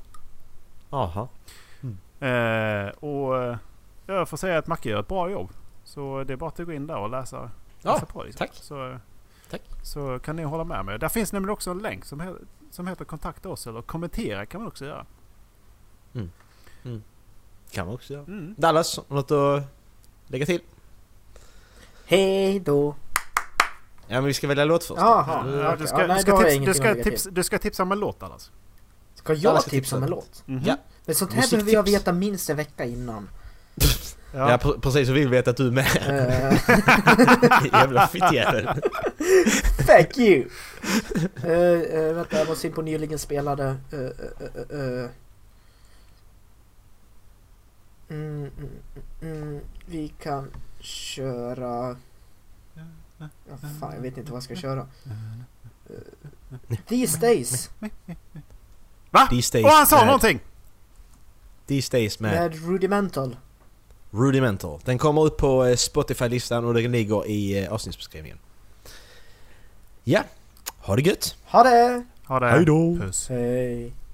K: Aha.
H: Eh, och eh, jag får säga att Macke gör ett bra jobb. Så det är bara att gå in där och läsa, läsa på. Liksom. Tack. Så,
K: tack.
H: så kan ni hålla med mig. Där finns nämligen också en länk som, he- som heter kontakta oss eller kommentera kan man också göra.
K: Kan man också göra.
H: Mm.
K: Dallas, har du något att lägga till?
J: Hej då.
K: Ja men vi ska välja låt först.
J: Jaha.
K: Mm.
H: Ja, du, ska,
J: Ja, nej,
H: du, ska
J: då har jag
H: tips, du,
J: ingenting
H: ska
J: att lägga
H: tips, du ska tipsa om en låt Dallas.
J: Ska jag tipsa om en låt?
K: Ja.
J: Men sånt här behöver jag veta minst en vecka innan.
K: Ja, pre- precis, och vi vet att du är med.
H: Eh.
K: Jävla fittjävel.
J: Fuck you! Eh, eh, vänta, jag måste in på nyligen spelade... eh, eh, eh, eh. Mm, mm, mm, mm. Vi kan köra... Ja, fan, jag vet inte vad jag ska köra. Eh, These days
H: Va?
K: These days
H: Och han sa
K: med-
H: någonting!
K: These days med
J: med Rudimental.
K: Rudimental. Den kommer upp på eh, Spotify-listan och den ligger i eh, avsnittsbeskrivningen. Ja, ha det gött!
J: Ha det!
H: Ha det!
K: Hej då!
H: Puss!
J: Hej!